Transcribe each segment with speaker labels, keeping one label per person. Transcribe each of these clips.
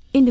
Speaker 1: verscheen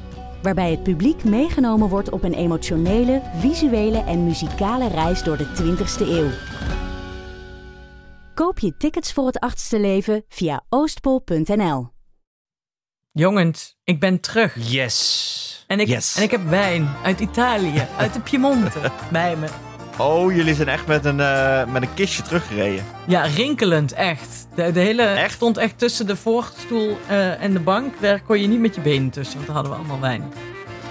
Speaker 1: Waarbij het publiek meegenomen wordt op een emotionele, visuele en muzikale reis door de 20ste eeuw. Koop je tickets voor het achtste leven via oostpol.nl.
Speaker 2: Jongens, ik ben terug.
Speaker 3: Yes.
Speaker 2: En ik,
Speaker 3: yes.
Speaker 2: en ik heb wijn uit Italië, uit de Piemonte, bij me.
Speaker 3: Oh, jullie zijn echt met een, eh, met een kistje teruggereden.
Speaker 2: Ja, rinkelend, echt. De, de hele
Speaker 3: Echt?
Speaker 2: stond echt tussen de voorstoel eh, en de bank. Daar kon je niet met je benen tussen, want daar hadden we allemaal wijn.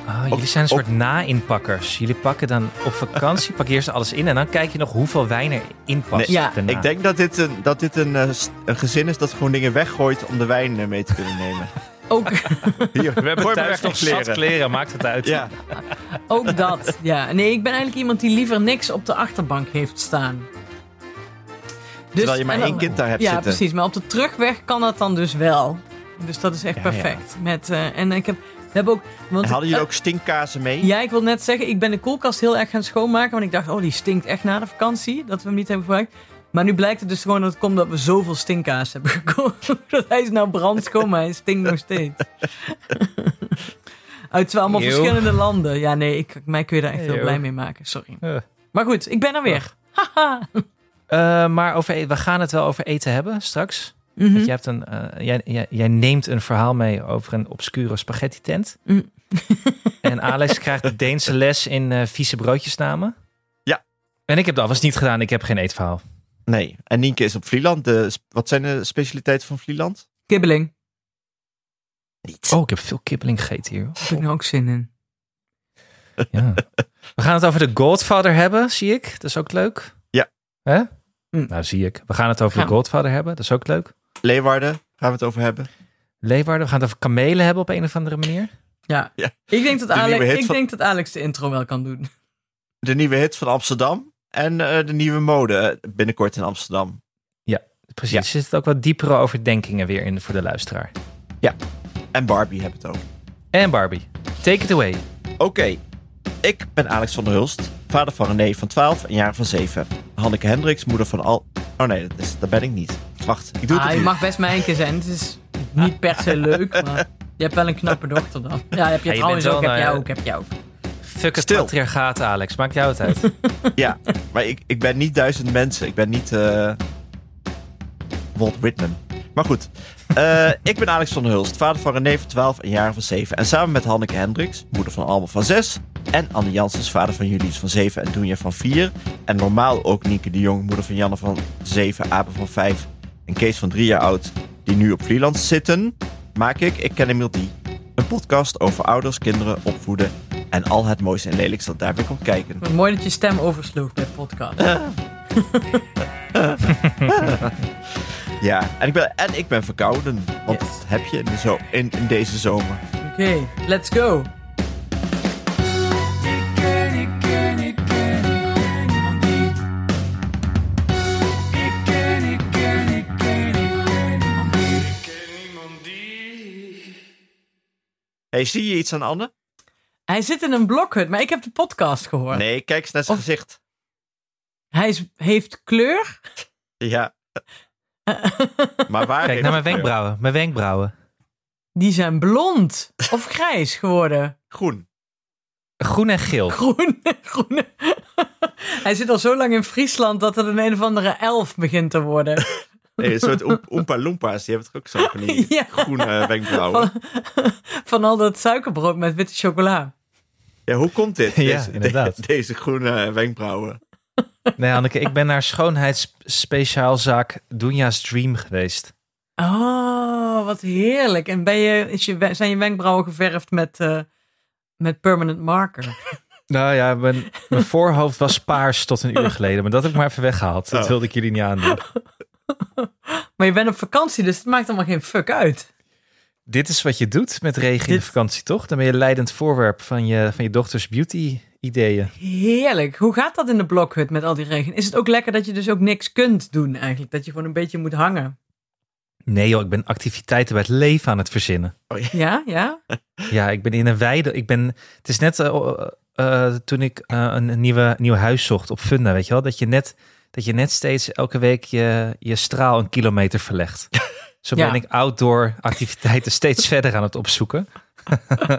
Speaker 4: Ah, jullie zijn een soort na-inpakkers. Jullie pakken dan op vakantie, pak je eerst alles in en dan kijk je nog hoeveel wijn er in past.
Speaker 3: Nee,
Speaker 2: Ja.
Speaker 4: daarna.
Speaker 3: Ik denk dat dit, een, dat dit een, eh, st- een gezin is dat gewoon dingen weggooit om de wijn eh, mee te kunnen nemen.
Speaker 2: Ook,
Speaker 3: Hier,
Speaker 4: We hebben
Speaker 3: gooi maar
Speaker 4: thuis
Speaker 3: weg
Speaker 4: nog
Speaker 3: die
Speaker 4: zat kleren, maakt het uit.
Speaker 3: Ja.
Speaker 2: ook dat, ja. Nee, ik ben eigenlijk iemand die liever niks op de achterbank heeft staan. Dus,
Speaker 3: Terwijl je maar
Speaker 2: en dan-
Speaker 3: één kind daar hebt
Speaker 2: ja,
Speaker 3: zitten.
Speaker 2: precies. Maar op de terugweg kan dat dan dus wel. Dus dat is echt
Speaker 3: Ja, ja.
Speaker 2: perfect. Met, eh, en ik heb, we hebben ook... Want
Speaker 3: En hadden jullie
Speaker 2: eh,
Speaker 3: ook stinkkazen mee?
Speaker 2: Ja, ik wil net zeggen, ik ben de koelkast heel erg gaan schoonmaken. Want ik dacht, oh, die stinkt echt na de vakantie. Dat we hem niet hebben gebruikt. Maar nu blijkt het dus gewoon dat het komt dat we zoveel stinkkaas hebben gekocht. dat hij is nou brandschoon, maar hij stinkt nog steeds. Uit twee allemaal
Speaker 4: Eeuw.
Speaker 2: verschillende landen. Ja, nee, ik, mij kun je daar echt heel
Speaker 4: Eeuw.
Speaker 2: blij mee maken. Sorry.
Speaker 4: Eh.
Speaker 2: Maar goed, ik ben er weer. Haha.
Speaker 4: Eh, maar over, e- we gaan het wel over eten hebben straks.
Speaker 2: Mhm.
Speaker 4: Want jij, hebt een, eh, jij, jij, jij neemt een verhaal mee over een obscure spaghetti tent.
Speaker 2: Mm.
Speaker 4: en Alex krijgt de Deense les in eh, vieze broodjesnamen.
Speaker 3: Ja.
Speaker 4: En ik heb dat alvast niet gedaan. Ik heb geen eetverhaal.
Speaker 3: Nee. En Nienke is op Vlieland. De, sp- wat zijn de specialiteiten van Vlieland?
Speaker 2: Kibbeling.
Speaker 3: Niet.
Speaker 4: Oh, ik heb veel kibbeling gegeten hier.
Speaker 2: Daar heb ik nou ook zin in.
Speaker 4: Ja. We gaan het over de Godfather hebben, zie ik. Dat is ook leuk.
Speaker 3: Ja.
Speaker 4: Hè?
Speaker 2: Hm.
Speaker 4: Nou, zie ik. We gaan het over
Speaker 2: Gaan
Speaker 4: de
Speaker 2: we.
Speaker 4: Godfather hebben. Dat is ook leuk.
Speaker 3: Leeuwarden gaan we het over hebben.
Speaker 4: Leeuwarden. We gaan het over kamelen hebben op een of andere manier.
Speaker 2: Ja.
Speaker 3: Ja.
Speaker 2: Ik, denk dat
Speaker 3: De nieuwe
Speaker 2: Alex,
Speaker 3: hit
Speaker 2: ik
Speaker 3: van-
Speaker 2: denk dat Alex de intro wel kan doen.
Speaker 3: De nieuwe hit van Amsterdam. En eh, de nieuwe mode eh, binnenkort in Amsterdam.
Speaker 4: Precies.
Speaker 3: Ja.
Speaker 4: Er zitten ook wat diepere overdenkingen weer in voor de luisteraar.
Speaker 3: En Barbie hebben het over.
Speaker 4: En Barbie. Take it away.
Speaker 3: Oké, ik ben Alex van der Hulst, vader van René van 12 en Jaren van 7. Hanneke Hendricks, moeder van al... Oh nee, dat, is, dat ben ik niet. Wacht, ik doe het
Speaker 2: Ah, je
Speaker 3: opnieuw.
Speaker 2: mag best mijn keer zijn. Het is niet per se leuk, maar je hebt wel een knappe dochter dan. Ja, heb je
Speaker 4: bent
Speaker 2: trouwens ook, heb
Speaker 4: wel, nou
Speaker 2: jij
Speaker 4: ja.
Speaker 2: ook, heb jij ook.
Speaker 4: Fuck het
Speaker 3: Stil.
Speaker 4: patriarchaat, Alex. Maakt jou het uit.
Speaker 3: Ja, maar ik, ik ben niet duizend mensen. Ik ben niet eh, Walt Whitman. Maar goed, eh, ik ben Alex van der Hulst, vader van René van 12 en Jaren van 7. En samen met Hanneke Hendricks, moeder van Alma van 6. En Anne Janssens, vader van Julius van 7 en Doenja van 4. En normaal ook Nienke de Jong, moeder van Janne van 7, Abe van 5 en Kees van 3 jaar oud. Die nu op Vlieland zitten, maak ik Ik Ken Emil Die. Een podcast over ouders, kinderen, opvoeden en al het moois en lelijks dat daarbij komt kijken.
Speaker 2: Wat mooi dat je stem oversloeg bij de podcast.
Speaker 3: Ja, en ik ben, en ik ben verkouden. Want
Speaker 2: Yes.
Speaker 3: dat heb je in, de zo, in, in deze zomer.
Speaker 2: Oké, let's go.
Speaker 3: hey, zie je iets aan Anne?
Speaker 2: Hij zit in een blokhut, maar ik heb de podcast gehoord.
Speaker 3: Nee, kijk eens naar zijn
Speaker 2: Of-
Speaker 3: gezicht.
Speaker 2: Hij is, heeft kleur.
Speaker 3: Ja. maar waar
Speaker 4: Kijk
Speaker 3: heeft het
Speaker 4: naar mijn
Speaker 3: kleur?
Speaker 4: wenkbrauwen. Mijn wenkbrauwen.
Speaker 2: Die zijn blond of grijs geworden.
Speaker 3: Groen.
Speaker 4: Groen en geel.
Speaker 2: Groen, groen. Hij zit al zo lang in Friesland dat het een een of andere elf begint te worden.
Speaker 3: Nee, een soort oem- Oompa Loompa's, die hebben het ook zo van die
Speaker 2: Ja.
Speaker 3: groene wenkbrauwen.
Speaker 2: Van al dat suikerbrood met witte chocola.
Speaker 3: Ja, hoe komt dit?
Speaker 4: Ja,
Speaker 3: Deze, de-
Speaker 4: inderdaad.
Speaker 3: deze groene wenkbrauwen.
Speaker 4: Nee, Anneke, ik ben naar schoonheidsspeciaalzaak Doenja's Dream geweest.
Speaker 2: Oh, wat heerlijk. En ben je, is je, we- zijn je wenkbrauwen geverfd met, eh, met permanent marker?
Speaker 4: Nou ja, mijn, mijn voorhoofd was paars tot een uur geleden. Maar dat heb ik maar even weggehaald. Dat
Speaker 3: Oh.
Speaker 4: wilde ik jullie niet aandoen.
Speaker 2: Maar je bent op vakantie, dus het maakt allemaal geen fuck uit.
Speaker 4: Dit is wat je doet met regen in
Speaker 2: Dit-
Speaker 4: de vakantie, toch? Dan ben je leidend voorwerp van je, van je dochters beauty
Speaker 5: ideeën.
Speaker 2: Heerlijk. Hoe gaat dat in de blokhut met al die regen? Is het ook lekker dat je dus ook niks kunt doen eigenlijk? Dat je gewoon een beetje moet hangen?
Speaker 4: Nee joh, ik ben activiteiten bij het leven aan het verzinnen.
Speaker 2: Ja, ja?
Speaker 4: Ja, ik ben in een weide. Ik ben, het is net eh, eh, toen ik eh, een, een nieuwe, nieuw huis zocht op Funda, weet je wel. Dat je net, dat je net steeds elke week je, je straal een kilometer verlegt. Zo
Speaker 2: Ja.
Speaker 4: ben ik outdoor activiteiten steeds verder aan het opzoeken.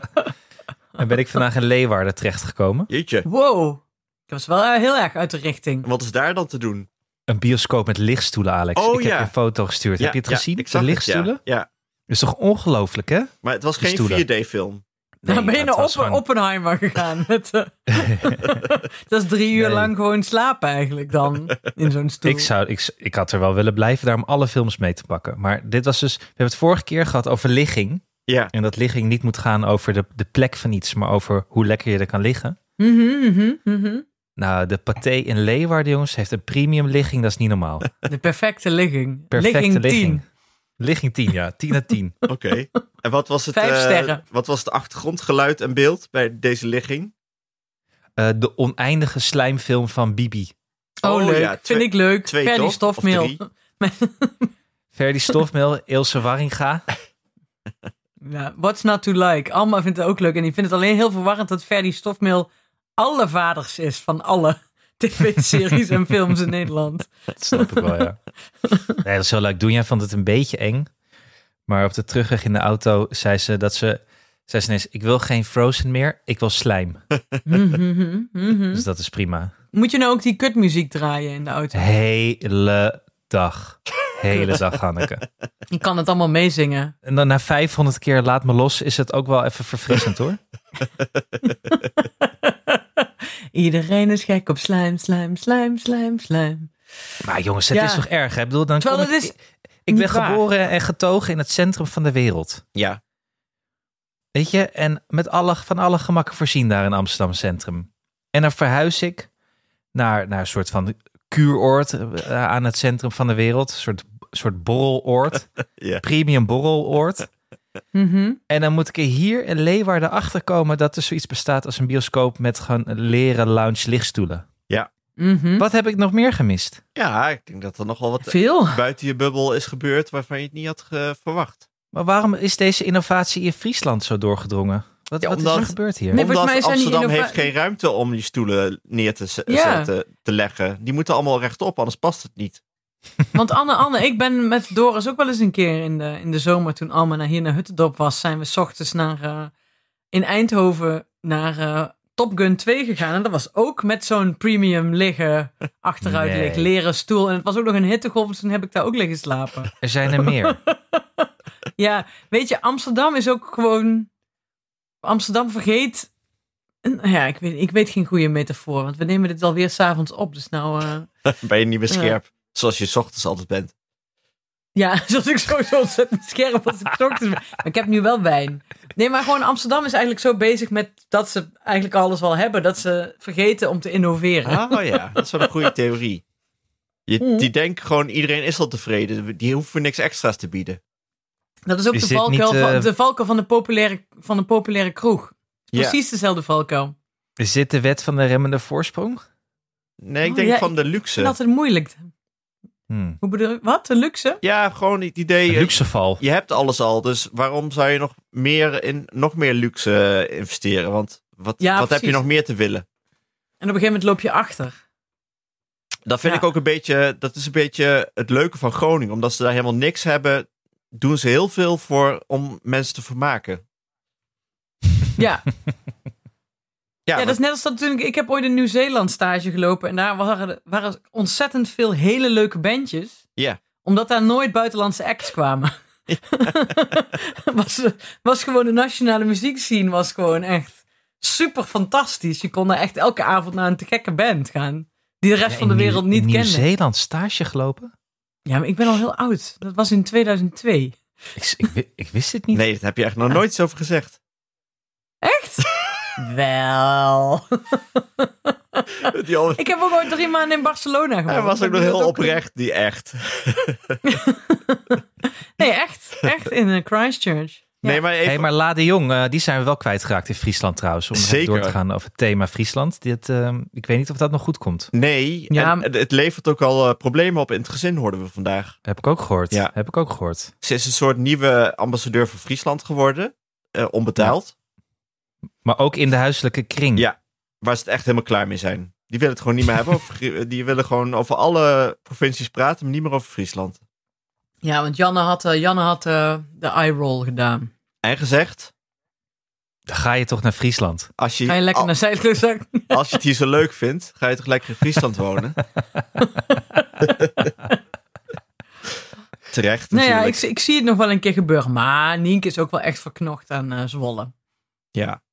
Speaker 4: en ben ik vandaag in Leeuwarden terechtgekomen.
Speaker 3: Jeetje,
Speaker 2: Wow. Dat was wel eh, heel erg uit de richting.
Speaker 3: wat is daar dan te doen?
Speaker 4: Een bioscoop met lichtstoelen, Alex.
Speaker 3: Oh,
Speaker 4: ik heb
Speaker 3: ja.
Speaker 4: je een foto gestuurd.
Speaker 3: Ja,
Speaker 4: heb je het
Speaker 3: ja,
Speaker 4: gezien?
Speaker 3: ik zag het,
Speaker 4: de
Speaker 3: ja.
Speaker 4: lichtstoelen?
Speaker 3: Ja,
Speaker 4: Dat is toch ongelooflijk, hè? Nou,
Speaker 3: maar het was
Speaker 4: De
Speaker 3: geen
Speaker 4: stoelen.
Speaker 3: 4D-film.
Speaker 2: Dan ben je
Speaker 4: dat
Speaker 2: naar
Speaker 4: was
Speaker 2: Oppen-
Speaker 4: gewoon-
Speaker 2: Oppenheimer gegaan. Met, eh, dat is drie uur
Speaker 4: Nee.
Speaker 2: lang gewoon slapen eigenlijk dan in zo'n stoel.
Speaker 4: Ik, zou, ik, ik had er wel willen blijven daar om alle films mee te pakken. Maar dit was dus. We hebben het vorige keer gehad over ligging.
Speaker 3: Ja.
Speaker 4: En dat ligging niet moet gaan over de, de plek van iets, maar over hoe lekker je er kan liggen.
Speaker 2: Mhm, mhm, mhm.
Speaker 4: Nou, de Pathé in Leeuwarden, jongens, heeft een premium ligging. Dat is niet normaal.
Speaker 2: De perfecte ligging.
Speaker 4: Perfecte
Speaker 2: ligging
Speaker 4: ligging.
Speaker 2: 10.
Speaker 4: Ligging 10, ja. 10 uit 10.
Speaker 3: Oké. En wat was, het,
Speaker 2: Vijf
Speaker 3: eh,
Speaker 2: sterren.
Speaker 3: wat was het achtergrondgeluid en beeld bij deze ligging?
Speaker 4: Eh, de oneindige slijmfilm van Bibi.
Speaker 2: Oh,
Speaker 3: Oh,
Speaker 2: leuk.
Speaker 3: ja, twee-
Speaker 2: Vind ik leuk.
Speaker 3: twee,
Speaker 2: Verdi
Speaker 3: toch?
Speaker 2: stofmeel.
Speaker 3: Of drie?
Speaker 4: Verdi Stofmeel, Ilse Warringa.
Speaker 2: Ja, what's not to like? Alma vindt het ook leuk. En die vindt het alleen heel verwarrend dat Ferdy Stofmeel alle vaders is van alle tv-series en films in Nederland.
Speaker 4: Dat snap ik wel, ja. Nee, dat is heel leuk. Doenja vond het een beetje eng. Maar op de terugweg in de auto zei ze dat ze... Zei ze ineens, ik wil geen Frozen meer, ik wil slijm.
Speaker 2: Mhm, mhm.
Speaker 4: Dus dat is prima.
Speaker 2: Moet je nou ook die kutmuziek draaien in de auto?
Speaker 4: Hele dag. Hele dag, Hanneke.
Speaker 2: Je kan het allemaal meezingen.
Speaker 4: En dan na 500 keer laat me los is het ook wel even verfrissend, hoor.
Speaker 2: Iedereen is gek op slijm, slijm, slijm, slijm, slijm.
Speaker 4: Maar jongens, het
Speaker 2: Ja.
Speaker 4: is toch erg, hè? Ik bedoel, dan
Speaker 2: Terwijl
Speaker 4: kom ik-
Speaker 2: het is
Speaker 4: ik ben
Speaker 2: niet waar.
Speaker 4: geboren en getogen in het centrum van de wereld.
Speaker 3: Ja.
Speaker 4: Weet je, en met alle, van alle gemakken voorzien daar in Amsterdam Centrum. En dan verhuis ik naar, naar een soort van kuuroord eh, aan het centrum van de wereld. Een soort, soort borreloord,
Speaker 3: Ja.
Speaker 4: premium borreloord.
Speaker 2: Mhm.
Speaker 4: En dan moet ik er hier in Leeuwarden achter komen dat er zoiets bestaat als een bioscoop met gewoon leren lounge lichtstoelen.
Speaker 3: Hm?
Speaker 2: Mhm.
Speaker 4: Wat heb ik nog meer gemist?
Speaker 3: ja, ik denk dat er nogal wat
Speaker 2: Veel.
Speaker 3: buiten je bubbel is gebeurd waarvan je het niet had eh, verwacht.
Speaker 4: Maar waarom is deze innovatie in Friesland zo doorgedrongen? Wat,
Speaker 3: Ja,
Speaker 4: wat is
Speaker 3: omdat-
Speaker 4: er gebeurd hier?
Speaker 2: Nee, volgens
Speaker 3: Omdat
Speaker 2: mij zijn die
Speaker 3: Amsterdam
Speaker 2: innova-
Speaker 3: heeft geen ruimte om die stoelen neer te z-
Speaker 2: Ja.
Speaker 3: zetten, te leggen. Die moeten allemaal rechtop, anders past het niet.
Speaker 2: Want Anne, Anne, ik ben met Doris ook wel eens een keer in de, in de zomer toen Alma naar hier naar Huttendorp was, zijn we 's ochtends naar, eh, in Eindhoven naar eh, Top Gun 2 gegaan. En dat was ook met zo'n premium liggen, achteruit
Speaker 4: Nee.
Speaker 2: liggen, leren stoel. En het was ook nog een hittegolf, dus toen heb ik daar ook liggen slapen.
Speaker 4: Er zijn er meer.
Speaker 2: ja, weet je, Amsterdam is ook gewoon... Amsterdam vergeet... en, Ja, ik weet, ik weet geen goede metafoor, want we nemen dit alweer s'avonds op. Dus nou... eh,
Speaker 3: ben je niet meer
Speaker 2: Ja.
Speaker 3: scherp, zoals je 's ochtends altijd bent.
Speaker 2: Ja, zoals ik sowieso ontzettend scherp als ik ochtends ben. Maar ik heb nu wel wijn. Nee, maar gewoon Amsterdam is eigenlijk zo bezig met dat ze eigenlijk alles wel hebben. Dat ze vergeten om te innoveren.
Speaker 3: Oh ja, dat is wel een goede theorie. Je, die denkt gewoon, iedereen is al tevreden. Die hoeven niks extra's te bieden.
Speaker 2: Dat is ook
Speaker 4: Is
Speaker 2: de
Speaker 4: dit
Speaker 2: valkuil,
Speaker 4: niet, eh,
Speaker 2: van, de valkuil van, de populaire, van de populaire kroeg.
Speaker 3: Ja.
Speaker 2: Precies dezelfde valkuil.
Speaker 4: Is dit de wet van de remmende voorsprong?
Speaker 3: Nee, ik
Speaker 2: Oh
Speaker 3: denk
Speaker 2: ja,
Speaker 3: van de
Speaker 2: En
Speaker 3: luxe.
Speaker 2: dat is moeilijk.
Speaker 4: Hmm.
Speaker 2: Hoe bedoel je- Wat? De luxe?
Speaker 3: Ja, gewoon het idee, eh,
Speaker 4: Een Luxeval.
Speaker 3: je hebt alles al. Dus waarom zou je nog meer in nog meer luxe eh, investeren? Want wat,
Speaker 2: Ja,
Speaker 3: wat heb je
Speaker 2: precies.
Speaker 3: nog meer te willen?
Speaker 2: En op een gegeven moment loop je achter.
Speaker 3: Dat vind
Speaker 2: Ja.
Speaker 3: ik ook een beetje, dat is een beetje het leuke van Groningen. Omdat ze daar helemaal niks hebben, doen ze heel veel voor om mensen te vermaken.
Speaker 2: Ja,
Speaker 3: Ja,
Speaker 2: ja, dat is net als dat toen ik... Ik heb ooit een Nieuw-Zeeland stage gelopen. En daar waren, waren ontzettend veel hele leuke bandjes.
Speaker 3: Ja.
Speaker 2: Omdat daar nooit buitenlandse acts kwamen. was, was gewoon de nationale muziekscene was gewoon echt super fantastisch. Je kon daar echt elke avond naar een te gekke band gaan. Die de rest van de
Speaker 4: In
Speaker 2: wereld
Speaker 4: Nieuw-
Speaker 2: niet kende.
Speaker 4: Nieuw-Zeeland stage gelopen?
Speaker 2: Ja, maar ik ben al heel oud. Dat was in 2002.
Speaker 4: Ik, ik, wi- ik wist het niet.
Speaker 3: nee, dat heb je echt nog nooit zo over gezegd.
Speaker 2: Echt? Wel.
Speaker 3: Die al-
Speaker 2: Ik heb ook ooit drie maanden in Barcelona gewoond.
Speaker 3: Hij was ook
Speaker 2: Ik
Speaker 3: nog
Speaker 2: bedoel,
Speaker 3: heel
Speaker 2: dat ook-
Speaker 3: oprecht, die echt.
Speaker 2: Nee, echt. Echt in eh, Christchurch.
Speaker 3: Nee, maar even...
Speaker 4: hey, maar La de Jong, eh, die zijn we wel kwijtgeraakt in Friesland trouwens. Om nog even
Speaker 3: Zeker.
Speaker 4: door te gaan over het thema Friesland. Dit, eh, ik weet niet of dat nog goed komt.
Speaker 3: Nee,
Speaker 2: Ja.
Speaker 3: en het- het levert ook al eh, problemen op in het gezin, hoorden we vandaag.
Speaker 4: Heb ik ook gehoord.
Speaker 3: Ja.
Speaker 4: Heb ik ook gehoord.
Speaker 3: Ze is een soort nieuwe ambassadeur voor Friesland geworden, eh, onbetaald,
Speaker 4: Maar ook in de huiselijke kring.
Speaker 3: Ja. waar ze het echt helemaal klaar mee zijn. Die willen het gewoon niet meer hebben. Over, Grie- die willen gewoon over alle provincies praten, maar niet meer over Friesland.
Speaker 2: Ja, want Janne had, eh, Janne had eh, de eye roll gedaan.
Speaker 3: En gezegd,
Speaker 4: Dan ga je toch naar Friesland.
Speaker 3: als je,
Speaker 2: Ga je lekker
Speaker 3: al-
Speaker 2: naar Zuid-Luzak?
Speaker 3: als je het hier zo leuk vindt, ga je toch lekker in Friesland wonen? Terecht
Speaker 2: Nou ja,
Speaker 3: natuurlijk.
Speaker 2: ik, ik zie het nog wel een keer gebeuren. Maar Nienke is ook wel echt verknocht aan eh, Zwolle.
Speaker 3: Ja.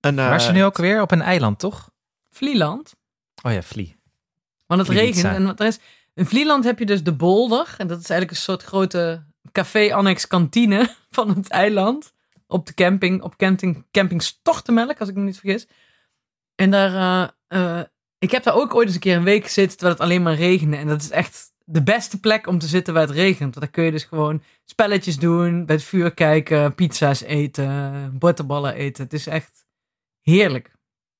Speaker 3: En, eh,
Speaker 4: Waar is ze nu ook weer? Op een eiland, toch?
Speaker 2: Vlieland.
Speaker 4: Oh ja, Vlie.
Speaker 2: Want het
Speaker 4: Ibiza.
Speaker 2: regent. En wat er is, in Vlieland heb je dus de bolder. En dat is eigenlijk een soort grote café-annex-kantine van het eiland. Op de camping, op camping, camping Stortemelk, als ik me niet vergis. En daar, eh, eh, ik heb daar ook ooit eens een keer een week gezeten terwijl het alleen maar regende. En dat is echt de beste plek om te zitten waar het regent. Want daar kun je dus gewoon spelletjes doen, bij het vuur kijken, pizza's eten, boterballen eten. Het is echt heerlijk.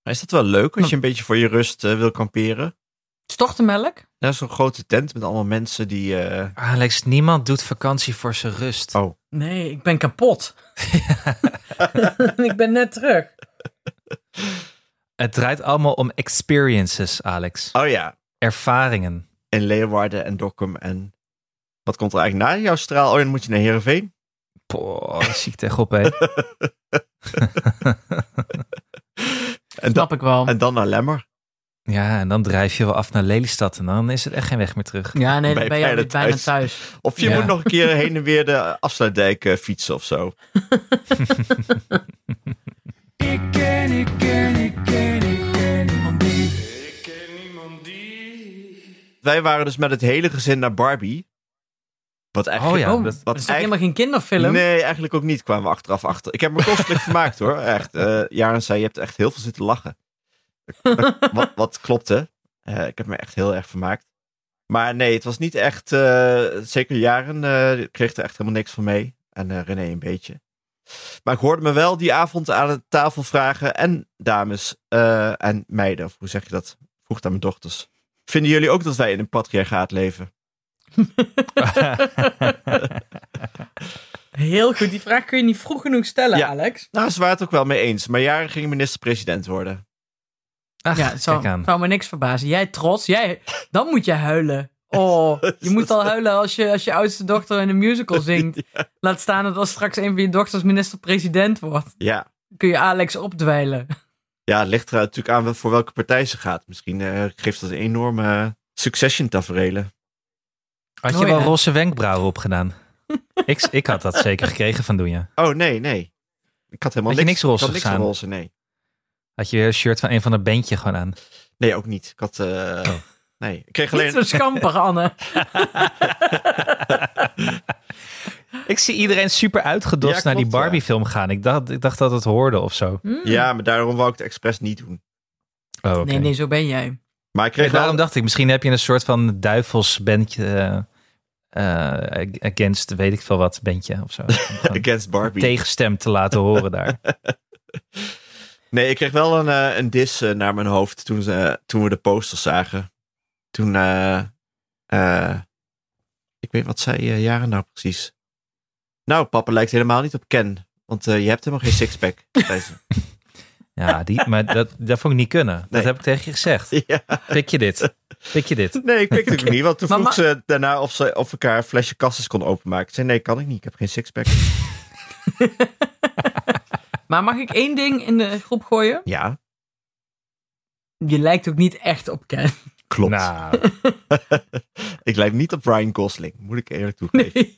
Speaker 3: maar Is dat wel leuk als je een
Speaker 2: Oh.
Speaker 3: beetje voor je rust eh, wil kamperen?
Speaker 2: Stortemelk?
Speaker 3: Dat is zo'n grote tent met allemaal mensen die... eh,
Speaker 4: Alex, niemand doet vakantie voor zijn rust.
Speaker 3: Oh.
Speaker 2: Nee, ik ben kapot. ik ben net terug.
Speaker 4: Het draait allemaal om experiences, Alex.
Speaker 3: Oh ja,
Speaker 4: Ervaringen.
Speaker 3: in Leeuwarden en Dokkum en... Wat komt er eigenlijk na jouw straal? Oh, ja, dan moet je naar Heerenveen.
Speaker 4: Poh, ziek echt op, hè.
Speaker 3: En dan,
Speaker 2: Snap ik wel.
Speaker 3: en dan naar Lemmer.
Speaker 4: Ja, en dan drijf je wel af naar Lelystad en dan is het echt geen weg meer terug.
Speaker 2: Ja, nee,
Speaker 3: ben
Speaker 2: dan
Speaker 3: je
Speaker 2: ben je
Speaker 3: bijna
Speaker 2: alweer bijna
Speaker 3: thuis.
Speaker 2: thuis.
Speaker 3: Of je
Speaker 4: Ja.
Speaker 3: moet nog een keer heen en weer de afsluitdijk eh, fietsen of zo.
Speaker 5: Ik ken, ik ken, ik ken, ik ken niemand die. Ik ken niemand die.
Speaker 3: Wij waren dus met het hele gezin naar Barbie. Wat eigenlijk...
Speaker 4: Oh ja,
Speaker 2: oh,
Speaker 4: dat-
Speaker 2: dat is toch
Speaker 3: eigenlijk-
Speaker 2: helemaal geen kinderfilm?
Speaker 3: Nee, eigenlijk ook niet, kwamen we achteraf achter. Ik heb me kostelijk vermaakt hoor, echt. Eh Jaren zei, je hebt echt heel veel zitten lachen. wat, wat klopte. Eh, ik heb me echt heel erg vermaakt. Maar nee, het was niet echt, eh, zeker Jaren eh, kreeg er echt helemaal niks van mee. En eh, René een beetje. Maar ik hoorde me wel die avond aan de tafel vragen. En dames eh, en meiden, of hoe zeg je dat? Vroeg het aan mijn dochters. Vinden jullie ook dat wij in een patriarchaat leven?
Speaker 2: Heel goed, die vraag kun je niet vroeg genoeg stellen,
Speaker 3: Ja.
Speaker 2: Alex.
Speaker 3: Nou, ze waren het ook wel mee eens. Maar Jaren ging minister-president worden.
Speaker 4: Ach,
Speaker 2: Ja, het zou,
Speaker 4: kijk aan.
Speaker 2: zou me niks verbazen. Jij trots, jij, dan moet je huilen. Oh, je moet al huilen als je, als je oudste dochter in een musical zingt. Laat staan dat als straks een van je dochters minister-president wordt,
Speaker 3: Ja.
Speaker 2: kun je Alex opdwijlen.
Speaker 3: Ja, het ligt er natuurlijk aan wel- voor welke partij ze gaat. Misschien eh, geeft dat een enorme eh, succession tafereelen.
Speaker 4: Had je
Speaker 2: Oh,
Speaker 4: wel
Speaker 2: ja.
Speaker 4: roze wenkbrauwen opgedaan? ik, ik had dat zeker gekregen van Doenja.
Speaker 3: Oh, nee, nee. Ik had helemaal
Speaker 4: Had je
Speaker 3: niks,
Speaker 4: niks
Speaker 3: ik had
Speaker 4: rozigs
Speaker 3: niks
Speaker 4: aan?
Speaker 3: roze, nee.
Speaker 4: Had je weer een shirt van een van de bandje gewoon aan.
Speaker 3: Nee, ook niet. Ik had... eh,
Speaker 4: Oh.
Speaker 3: Nee, ik kreeg
Speaker 2: Niet
Speaker 3: alleen...
Speaker 2: zo schamper, Anne.
Speaker 4: Ik zie iedereen super uitgedost
Speaker 3: Ja,
Speaker 4: naar die
Speaker 3: klopt, ja.
Speaker 4: Barbie film gaan. Ik dacht, ik dacht dat het hoorde of zo.
Speaker 3: Ja, maar daarom wou ik het expres niet doen.
Speaker 4: Oh, oké.
Speaker 2: Nee, nee, zo ben jij.
Speaker 3: Maar ik kreeg
Speaker 4: Kijk, daarom
Speaker 3: wel...
Speaker 4: dacht ik, misschien heb je een soort van duivelsbandje. eh, eh, against weet ik veel wat bandje of zo. Om gewoon
Speaker 3: Against Barbie.
Speaker 4: Tegenstem te laten horen daar.
Speaker 3: Nee, ik kreeg wel een, eh, een dis eh, naar mijn hoofd toen, ze, toen we de posters zagen. Toen... eh, eh, ik weet wat zei eh, Jaren nou precies. Nou, papa lijkt helemaal niet op Ken. Want eh, je hebt helemaal geen sixpack. zei ze.
Speaker 4: Ja, die, maar dat, dat vond ik niet kunnen.
Speaker 3: Nee.
Speaker 4: Dat heb ik tegen je gezegd.
Speaker 3: ja.
Speaker 4: Pik je dit? Pik je dit?
Speaker 3: Nee, ik pikte het niet. Want toen
Speaker 2: Maar
Speaker 3: vroeg
Speaker 2: ma-
Speaker 3: ze daarna of ze of elkaar een flesje kasses kon openmaken. Ik zei, nee, kan ik niet. Ik heb geen sixpack.
Speaker 2: Maar mag ik één ding in de groep gooien?
Speaker 3: Ja,
Speaker 2: Je lijkt ook niet echt op Ken.
Speaker 3: klopt.
Speaker 4: Nou,
Speaker 3: Ik lijk niet op Ryan Gosling, moet ik eerlijk toegeven.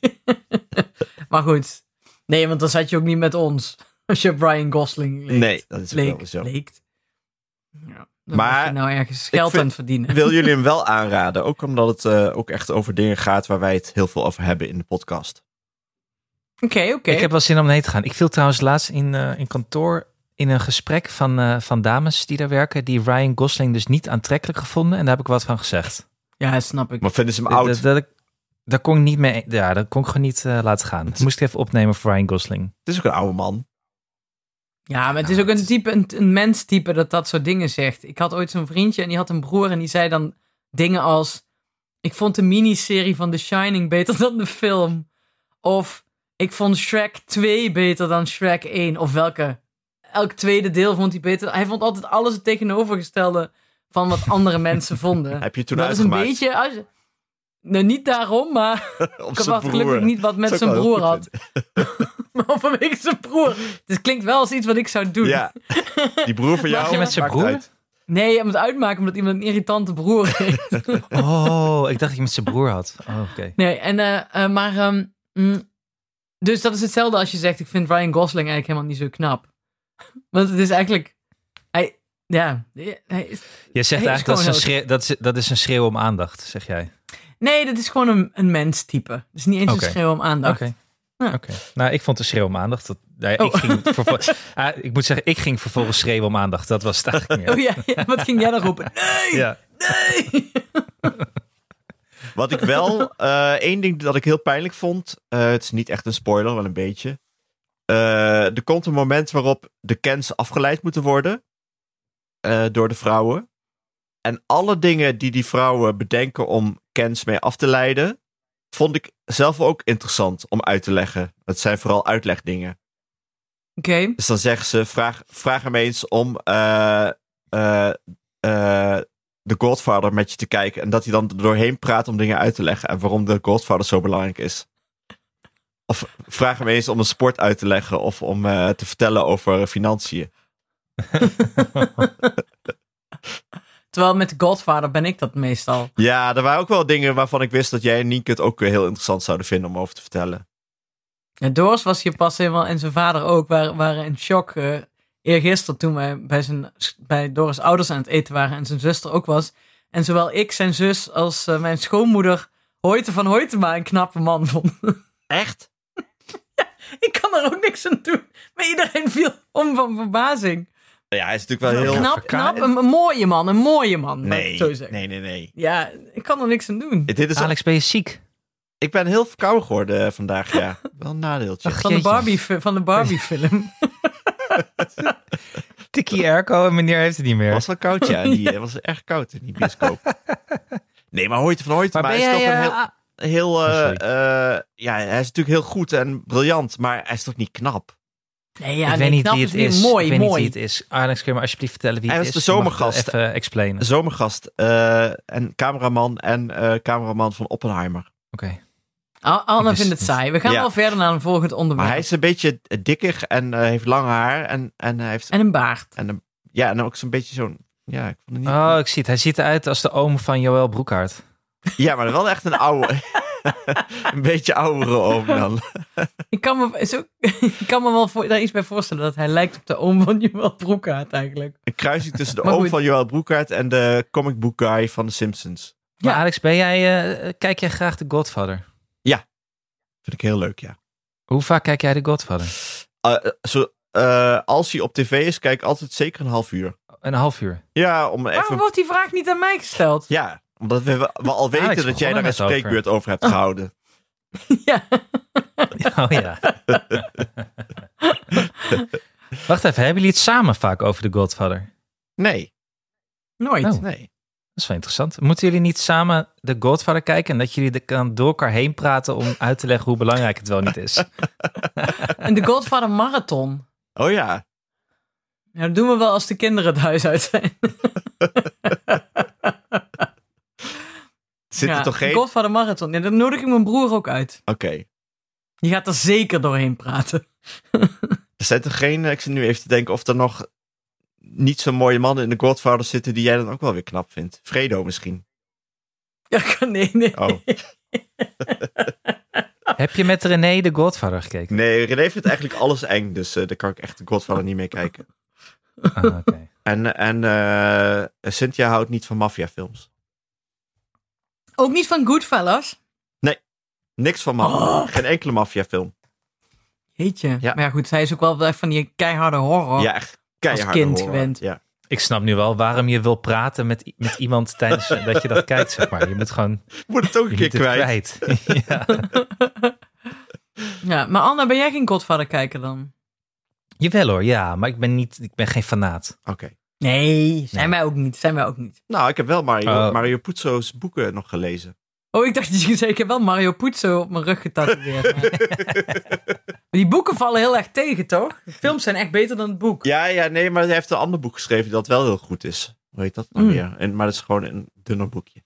Speaker 2: maar goed. Nee, want dan zat je ook niet met ons. Als je Brian Gosling leek.
Speaker 3: Nee, dat is ook wel
Speaker 2: leek,
Speaker 3: zo.
Speaker 2: leekt. Ja, dan
Speaker 3: Maar
Speaker 2: maar je nou ergens geld
Speaker 3: vind-
Speaker 2: aan het verdienen.
Speaker 3: Wil jullie hem wel aanraden? Ook omdat het eh, ook echt over dingen gaat waar wij het heel veel over hebben in de podcast.
Speaker 2: Oké, oké.
Speaker 4: ik heb wel zin om heen te gaan. Ik viel trouwens laatst in, eh, in kantoor in een gesprek van, eh, van dames die daar werken. Die Ryan Gosling dus niet aantrekkelijk gevonden. En daar heb ik wat van gezegd.
Speaker 2: Ja, snap ik.
Speaker 3: Maar vinden ze hem
Speaker 4: Dat,
Speaker 3: oud?
Speaker 4: dat ik, Daar kon ik niet mee. Ja, dat kon ik gewoon niet eh, laten gaan. Dat moest ik even opnemen voor Ryan Gosling.
Speaker 3: Het is ook een oude man.
Speaker 2: Ja, maar het is ook een, type, een, een menstype dat dat soort dingen zegt. Ik had ooit zo'n vriendje en die had een broer en die zei dan dingen als... Ik vond de miniserie van The Shining beter dan de film. Of ik vond Shrek 2 beter dan Shrek 1. Of welke. Elk tweede deel vond hij beter. Hij vond altijd alles het tegenovergestelde van wat andere mensen vonden.
Speaker 3: Heb je toen
Speaker 2: dat is een
Speaker 3: uitgemaakt
Speaker 2: beetje... Als, je- nou, niet daarom, maar...
Speaker 3: op
Speaker 2: Ik
Speaker 3: zijn
Speaker 2: had
Speaker 3: broer.
Speaker 2: gelukkig niet wat met
Speaker 3: Dat zou
Speaker 2: zijn
Speaker 3: ik wel
Speaker 2: broer
Speaker 3: heel
Speaker 2: had.
Speaker 3: goed
Speaker 2: maar vanwege zijn broer. Dus Het klinkt wel als iets wat ik zou doen.
Speaker 3: Ja. Die broer van jou.
Speaker 4: je met zijn
Speaker 3: maakt
Speaker 4: broer?
Speaker 3: uit.
Speaker 2: Nee, om het uitmaken omdat iemand een irritante broer heeft.
Speaker 4: Oh, ik dacht dat je met zijn broer had. Oh, Oké.
Speaker 2: Nee, en, eh, eh, maar... ehm, mm, dus dat is hetzelfde als je zegt... Ik vind Ryan Gosling eigenlijk helemaal niet zo knap. Want het is eigenlijk... Hij, ja, hij is,
Speaker 4: Je zegt
Speaker 2: Hij is
Speaker 4: eigenlijk dat is, een
Speaker 2: gewoon
Speaker 4: schreeuw, dat, is, dat is een schreeuw om aandacht, zeg jij.
Speaker 2: nee, dat is gewoon een, een mens-type. Het is niet eens
Speaker 4: Oké.
Speaker 2: een schreeuw om
Speaker 4: Oké.
Speaker 2: aandacht. Ja.
Speaker 4: Oké. Nou, ik vond de schreeuw om aandacht. Dat, nou ja,
Speaker 2: Oh.
Speaker 4: ik, ging vervol- Ah, ik moet zeggen, ik ging vervolgens schreeuwen om aandacht. Dat was het eigenlijk meer.
Speaker 2: Oh ja, ja, wat ging jij dan roepen? Nee!
Speaker 4: Ja.
Speaker 3: Wat ik wel, eh één ding dat ik heel pijnlijk vond. eh, het is niet echt een spoiler, wel een beetje. Eh, er komt een moment waarop de Kens afgeleid moeten worden. eh, door de vrouwen. En alle dingen die die vrouwen bedenken om Kens mee af te leiden. vond ik zelf ook interessant om uit te leggen. Het zijn vooral uitlegdingen.
Speaker 2: Oké,
Speaker 3: Dus dan zeggen ze: vraag, vraag hem eens om eh, eh, eh, The Godfather met je te kijken. En dat hij dan er doorheen praat om dingen uit te leggen. En waarom The Godfather zo belangrijk is. Of vraag hem eens om een sport uit te leggen. Of om eh, te vertellen over financiën.
Speaker 2: terwijl met The Godfather ben ik dat meestal.
Speaker 3: Ja, er waren ook wel dingen waarvan ik wist dat jij en Nienke het ook weer heel interessant zouden vinden om over te vertellen.
Speaker 2: Ja, Doors was hier pas helemaal en zijn vader ook waren, waren in shock. eh eergisteren toen wij bij, zijn, bij Doris' ouders aan het eten waren en zijn zuster ook was. En zowel ik, zijn zus, als eh, mijn schoonmoeder Hoyte van Hoytema een knappe man vonden.
Speaker 3: Echt?
Speaker 2: ik kan er ook niks aan doen. Maar iedereen viel om van verbazing.
Speaker 3: Ja, hij is natuurlijk wel heel.
Speaker 2: knap, knap. Een, een mooie man, een mooie man. laat ik het
Speaker 3: Nee,
Speaker 2: zo zeggen.
Speaker 3: nee, nee, nee.
Speaker 2: Ja, ik kan er niks aan doen.
Speaker 3: Dit is,
Speaker 4: Alex, ben je ziek?
Speaker 3: ik ben heel verkouden geworden eh, vandaag, ja. Wel een nadeeltje.
Speaker 4: Ach,
Speaker 2: Van de,
Speaker 4: jeetje.
Speaker 2: Barbie, fi- van de Barbie film.
Speaker 4: Tikkie airco en meneer heeft het niet meer.
Speaker 3: Het was wel koud, ja. Die eh, was echt koud in die bioscoop. nee, maar Hoyte van Hoyte,
Speaker 4: Maar
Speaker 3: maar
Speaker 4: ben
Speaker 3: hij is toch
Speaker 4: jij,
Speaker 3: een
Speaker 4: eh,
Speaker 3: heel... heel eh,
Speaker 4: Oh, sorry.
Speaker 3: eh, ja, hij is natuurlijk heel goed en briljant, maar hij is toch niet knap?
Speaker 2: Nee, ja,
Speaker 4: ik
Speaker 2: nee,
Speaker 4: weet niet
Speaker 2: knap
Speaker 4: wie het is.
Speaker 2: Mooi,
Speaker 4: ik weet
Speaker 2: mooi.
Speaker 4: niet wie het is. Alex, kun je me alsjeblieft vertellen wie
Speaker 3: Hij
Speaker 4: het is?
Speaker 3: was de
Speaker 4: Je mag het
Speaker 3: zomergast. Dus-
Speaker 4: Even eh, explainen. Oké.
Speaker 3: Zomergast eh, en cameraman en eh, cameraman van Oppenheimer.
Speaker 2: Al- Anne
Speaker 4: Ik wist
Speaker 2: vindt het
Speaker 4: het
Speaker 2: saai. We gaan
Speaker 3: Ja.
Speaker 2: wel verder naar een volgend
Speaker 3: Maar
Speaker 2: onderwerp.
Speaker 3: hij is een beetje eh, dikker en eh, heeft lang haar en, en hij heeft...
Speaker 2: En een baard.
Speaker 3: En een- ja, en ook zo'n beetje zo'n... Ja, ik vond het niet...
Speaker 4: Oh, ik zie het. Hij ziet eruit als de oom van Joël Broekhaart.
Speaker 3: Ja, maar wel echt een oude... een beetje oudere oom dan.
Speaker 2: Ik kan me, is ook, ik kan me wel voor, daar iets bij voorstellen dat hij lijkt op de oom van Joël Broekhaart eigenlijk.
Speaker 3: Een kruising tussen de
Speaker 2: Maar
Speaker 3: oom
Speaker 2: goed.
Speaker 3: van Joël Broekhaart en de comic book guy van The Simpsons.
Speaker 4: Maar
Speaker 2: Ja.
Speaker 4: Alex, ben jij, eh, kijk jij graag The Godfather?
Speaker 3: Vind ik heel leuk, ja.
Speaker 4: Hoe vaak kijk jij The Godfather?
Speaker 3: Eh, zo, eh, als hij op tv is, kijk ik altijd zeker een half uur.
Speaker 4: Een half uur.
Speaker 3: Ja,
Speaker 4: Oh,
Speaker 3: om
Speaker 2: Waarom
Speaker 3: even.
Speaker 2: wordt die vraag niet aan mij gesteld?
Speaker 3: Ja, omdat we, we al weten
Speaker 4: Alex
Speaker 3: dat jij daar
Speaker 4: begon er
Speaker 3: een
Speaker 4: net over.
Speaker 3: spreekbeurt over, hebt gehouden.
Speaker 2: Ja.
Speaker 4: Oh ja. Wacht even, hebben jullie het samen vaak over The Godfather?
Speaker 3: Nee,
Speaker 2: Nooit.
Speaker 4: Oh.
Speaker 3: nee.
Speaker 4: Dat is wel interessant. Moeten jullie niet samen The Godfather kijken en dat jullie er kan door elkaar heen praten om uit te leggen hoe belangrijk het wel niet is?
Speaker 2: En de Godfather Marathon.
Speaker 3: Oh ja,
Speaker 2: Ja, dat doen we wel als de kinderen het huis uit zijn.
Speaker 3: zit
Speaker 2: ja,
Speaker 3: er toch geen.
Speaker 2: De Godfather Marathon. Ja, dan nodig ik mijn broer ook uit.
Speaker 3: Oké.
Speaker 2: Die gaat er zeker doorheen praten.
Speaker 3: Er zijn toch geen. eh, Ik zit nu even te denken of er nog niet zo mooie mannen in de Godfather zitten die jij dan ook wel weer knap vindt. Fredo misschien.
Speaker 2: Ja, ik kan- nee, nee.
Speaker 3: Oh.
Speaker 4: Heb je met René The Godfather gekeken?
Speaker 3: Nee, René vindt eigenlijk alles eng, dus eh, daar kan ik echt de Godfather niet mee kijken.
Speaker 4: Ah, oké.
Speaker 3: En, en eh, Cynthia houdt niet van maffiafilms.
Speaker 2: Ook niet van Goodfellas.
Speaker 3: Niks van maffia.
Speaker 4: Oh.
Speaker 3: Geen enkele maffiafilm.
Speaker 2: Heetje.
Speaker 3: Ja.
Speaker 2: Maar ja, goed, zij is ook wel echt van die keiharde horror.
Speaker 4: Oh.
Speaker 3: Ja, echt keihard
Speaker 2: kind
Speaker 3: horror.
Speaker 2: gewend.
Speaker 3: Ja.
Speaker 4: Ik snap nu wel waarom je wil praten met, i- met iemand tijdens eh, dat je dat kijkt, zeg maar. Je moet gewoon
Speaker 3: Moet het ook
Speaker 4: je
Speaker 3: een keer
Speaker 4: moet
Speaker 3: kwijt.
Speaker 4: het kwijt. ja.
Speaker 2: Ja, maar Anna, ben jij geen Godfather kijken dan?
Speaker 4: Jawel hoor, ja. Maar ik ben, niet, ik ben geen fanaat.
Speaker 3: Oké.
Speaker 2: Nee, zijn
Speaker 4: Nee.
Speaker 2: wij ook niet. Zijn wij ook niet.
Speaker 3: Nou, ik heb wel Mario,
Speaker 4: Oh.
Speaker 3: Mario Puzo's boeken nog gelezen.
Speaker 2: Oh, ik dacht dat je zei, ik heb wel Mario Puzo op mijn rug getatoeëerd. Maar- Die boeken vallen heel erg tegen, toch? De films zijn echt beter dan het boek.
Speaker 3: Ja, ja, nee, maar hij heeft een ander boek geschreven dat wel heel goed is. Hoe heet dat nou
Speaker 4: Hmm.
Speaker 2: Mm.
Speaker 3: weer? En, maar dat is gewoon een dunner boekje.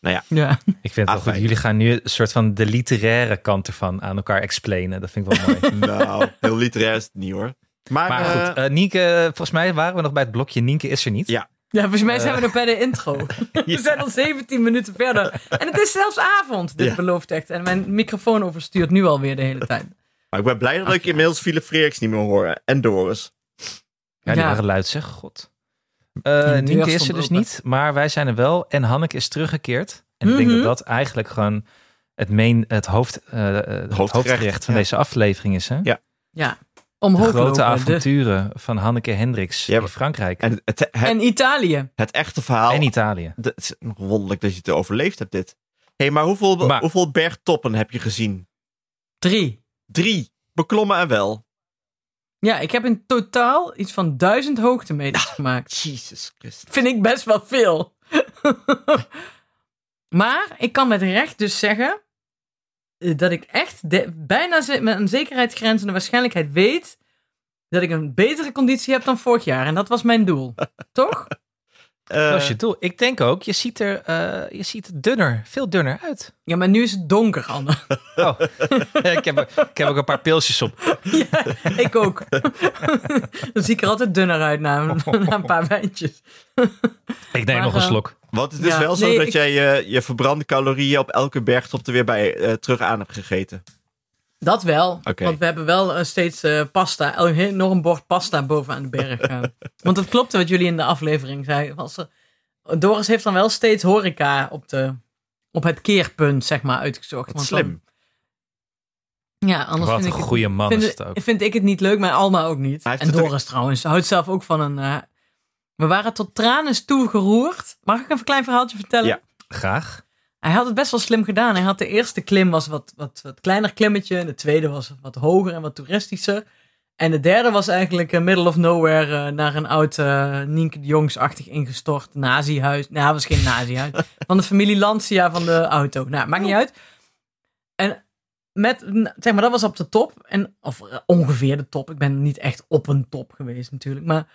Speaker 2: Ja.
Speaker 4: Ik vind het wel
Speaker 3: Afijn.
Speaker 4: goed. Jullie gaan nu een soort van de literaire kant ervan aan elkaar explainen. Dat vind ik wel mooi.
Speaker 3: Nou, heel literair is het niet hoor. Maar,
Speaker 4: maar
Speaker 3: eh,
Speaker 4: goed, eh, Nienke, eh, volgens mij waren we nog bij het blokje Nienke is er niet.
Speaker 3: Ja.
Speaker 2: ja, volgens mij zijn we nog bij de intro. We
Speaker 4: Ja.
Speaker 2: zijn al 17 minuten verder. En het is zelfs avond, dit
Speaker 3: Ja.
Speaker 2: belooft echt. En mijn microfoon overstuurt nu alweer de hele tijd.
Speaker 3: maar ik ben blij dat ik inmiddels Philip Freaks niet meer hoor. En Doris.
Speaker 4: Ja, die
Speaker 2: Ja.
Speaker 4: waren luid zeg, god.
Speaker 2: de
Speaker 4: Eh
Speaker 2: deur
Speaker 4: Nienke is
Speaker 2: stond
Speaker 4: er dus
Speaker 2: open.
Speaker 4: niet, maar wij zijn er wel. En Hanneke is teruggekeerd. En ik denk
Speaker 2: Mhm.
Speaker 4: dat dat eigenlijk gewoon het, main, het, hoofd, eh, eh, het
Speaker 3: Hoofdgerecht,
Speaker 4: hoofdgerecht van
Speaker 3: ja.
Speaker 4: deze aflevering is. Hè?
Speaker 3: Ja,
Speaker 2: Ja,
Speaker 4: de
Speaker 2: omhoog
Speaker 4: grote
Speaker 2: lopen. de-
Speaker 4: avonturen van Hanneke Hendricks
Speaker 3: Ja,
Speaker 4: in
Speaker 3: maar-
Speaker 4: Frankrijk en, nou-
Speaker 3: En het, het, het,
Speaker 2: En Italië.
Speaker 3: echte verhaal.
Speaker 4: Italië.
Speaker 3: Het is nog wonderlijk dat je het overleefd hebt, dit. Hé, hey, maar hoeveel,
Speaker 4: Maar-
Speaker 3: hoeveel bergtoppen heb je gezien?
Speaker 2: Drie.
Speaker 3: Drie. Beklommen en wel.
Speaker 2: Ja, ik heb in totaal iets van duizend hoogtemeters
Speaker 4: Ah.
Speaker 2: gemaakt.
Speaker 3: Jesus Christus.
Speaker 2: Vind ik best wel veel. maar ik kan met recht dus zeggen eh, dat ik echt de- bijna ze- met een zekerheidsgrens en een waarschijnlijkheid weet dat ik een betere conditie heb dan vorig jaar. En dat was mijn doel. Toch? Eh, Nou,
Speaker 4: dat is je doel. Ik denk ook, je ziet er, eh, je ziet er dunner, veel dunner uit.
Speaker 2: Ja, maar nu is het donker, Anne.
Speaker 4: Oh, ik, heb, er- ik heb ook een paar pilsjes op.
Speaker 2: ja, ik ook. Dan zie ik er altijd dunner uit na, na een paar wijntjes.
Speaker 4: Ik neem
Speaker 2: Maar,
Speaker 4: nog een
Speaker 2: eh,
Speaker 4: slok.
Speaker 3: Want het is
Speaker 2: Ja,
Speaker 3: wel zo
Speaker 2: nee,
Speaker 3: dat
Speaker 2: ik-
Speaker 3: jij je, je verbrande calorieën op elke bergtop er weer bij eh, terug aan hebt gegeten.
Speaker 2: Dat wel.
Speaker 3: Oké.
Speaker 2: Want we hebben wel eh, steeds eh, pasta, een enorm bord pasta bovenaan de berg. eh. Want het klopte wat jullie in de aflevering zeiden. Als er- Doris heeft dan wel steeds horeca op, de, op het keerpunt, zeg maar, uitgezocht.
Speaker 3: Wat
Speaker 2: Want
Speaker 3: slim.
Speaker 2: dan- ja, anders
Speaker 4: Wat
Speaker 2: vind
Speaker 4: een
Speaker 2: ik het-
Speaker 4: goede man
Speaker 2: vind,
Speaker 4: is het ook.
Speaker 2: vind ik het niet leuk, maar Alma ook niet.
Speaker 3: Hij heeft
Speaker 2: En
Speaker 3: het ook-
Speaker 2: Doris trouwens, houdt zelf ook van een... eh, we waren tot tranen toe geroerd. Mag ik een klein verhaaltje vertellen?
Speaker 3: Ja.
Speaker 4: Graag.
Speaker 2: Hij had het best wel slim gedaan. Hij had de eerste klim was wat, wat, wat kleiner klimmetje. En de tweede was wat hoger en wat toeristischer. En de derde was eigenlijk een middle of nowhere eh, naar een oud eh Nienke de Jongs-achtig ingestort nazihuis. Nou, het was geen nazihuis. van de familie Lancia van de auto. Nou, maakt niet uit. En met, n- zeg maar, dat was op de top. En, of eh, ongeveer de top. Ik ben niet echt op een top geweest natuurlijk. Maar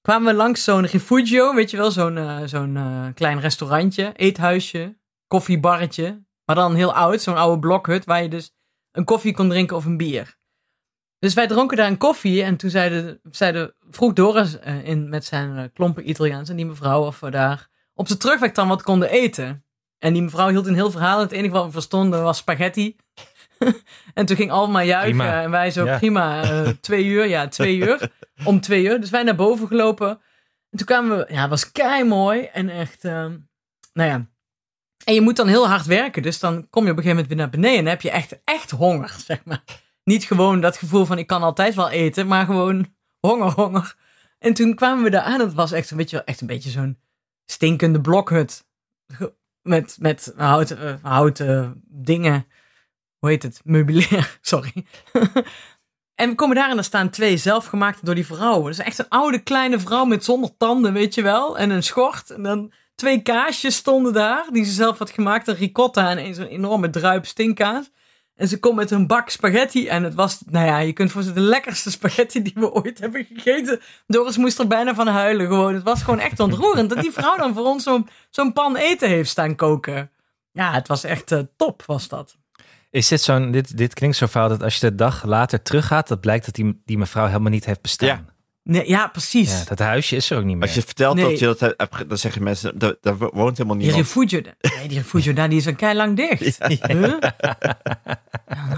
Speaker 2: kwamen we langs zo'n refugio, weet je wel. Zo'n eh, zo'n eh, klein restaurantje, eethuisje koffiebarretje. Maar dan heel oud, zo'n oude blokhut waar je dus een koffie kon drinken of een bier. Dus wij dronken daar een koffie en toen zeiden, zeiden, vroeg Doris eh, in, met zijn eh, klompen Italiaans en die mevrouw of we daar op de terugweg dan wat konden eten. En die mevrouw hield een heel verhaal en het enige wat we verstonden was spaghetti. en toen ging Alma juichen
Speaker 4: Prima.
Speaker 2: en wij zo
Speaker 4: Ja.
Speaker 2: prima, eh, twee uur, ja twee uur, om twee uur. Dus wij naar boven gelopen en toen kwamen we, ja het was kei mooi en echt, ehm, nou ja. En je moet dan heel hard werken, dus dan kom je op een gegeven moment weer naar beneden en dan heb je echt, echt honger, zeg maar. Niet gewoon dat gevoel van ik kan altijd wel eten, maar gewoon honger, honger. En toen kwamen we daar aan. Het was echt een beetje, echt een beetje zo'n stinkende blokhut. Ge- Met, met houten, eh, houten dingen. Hoe heet het? Meubilair, sorry. en we komen daar en daar staan twee zelfgemaakte door die vrouwen. Dus echt een oude kleine vrouw met zonder tanden, weet je wel. En een schort. En dan twee kaasjes stonden daar. Die ze zelf had gemaakt. Een ricotta en een zo'n enorme druip stinkkaas. En ze komt met een bak spaghetti. En het was, nou ja, je kunt voor ze de lekkerste spaghetti die we ooit hebben gegeten. Doris moest er bijna van huilen gewoon. Het was gewoon echt ontroerend dat die vrouw dan voor ons zo'n zo'n pan eten heeft staan koken. Ja, het was echt eh, top was dat.
Speaker 4: Is dit zo'n, dit, dit klinkt zo fout dat als je de dag later teruggaat, dat blijkt dat die, die mevrouw helemaal niet heeft bestaan.
Speaker 2: Nee, ja, precies.
Speaker 4: Ja, dat huisje is er ook niet meer.
Speaker 3: Als je vertelt
Speaker 2: Nee.
Speaker 3: dat je dat hebt, ge- dan zeggen mensen, daar, daar woont helemaal
Speaker 2: die
Speaker 3: niemand.
Speaker 2: refugio, nee, die refugio daar die is een kei lang dicht. Huh?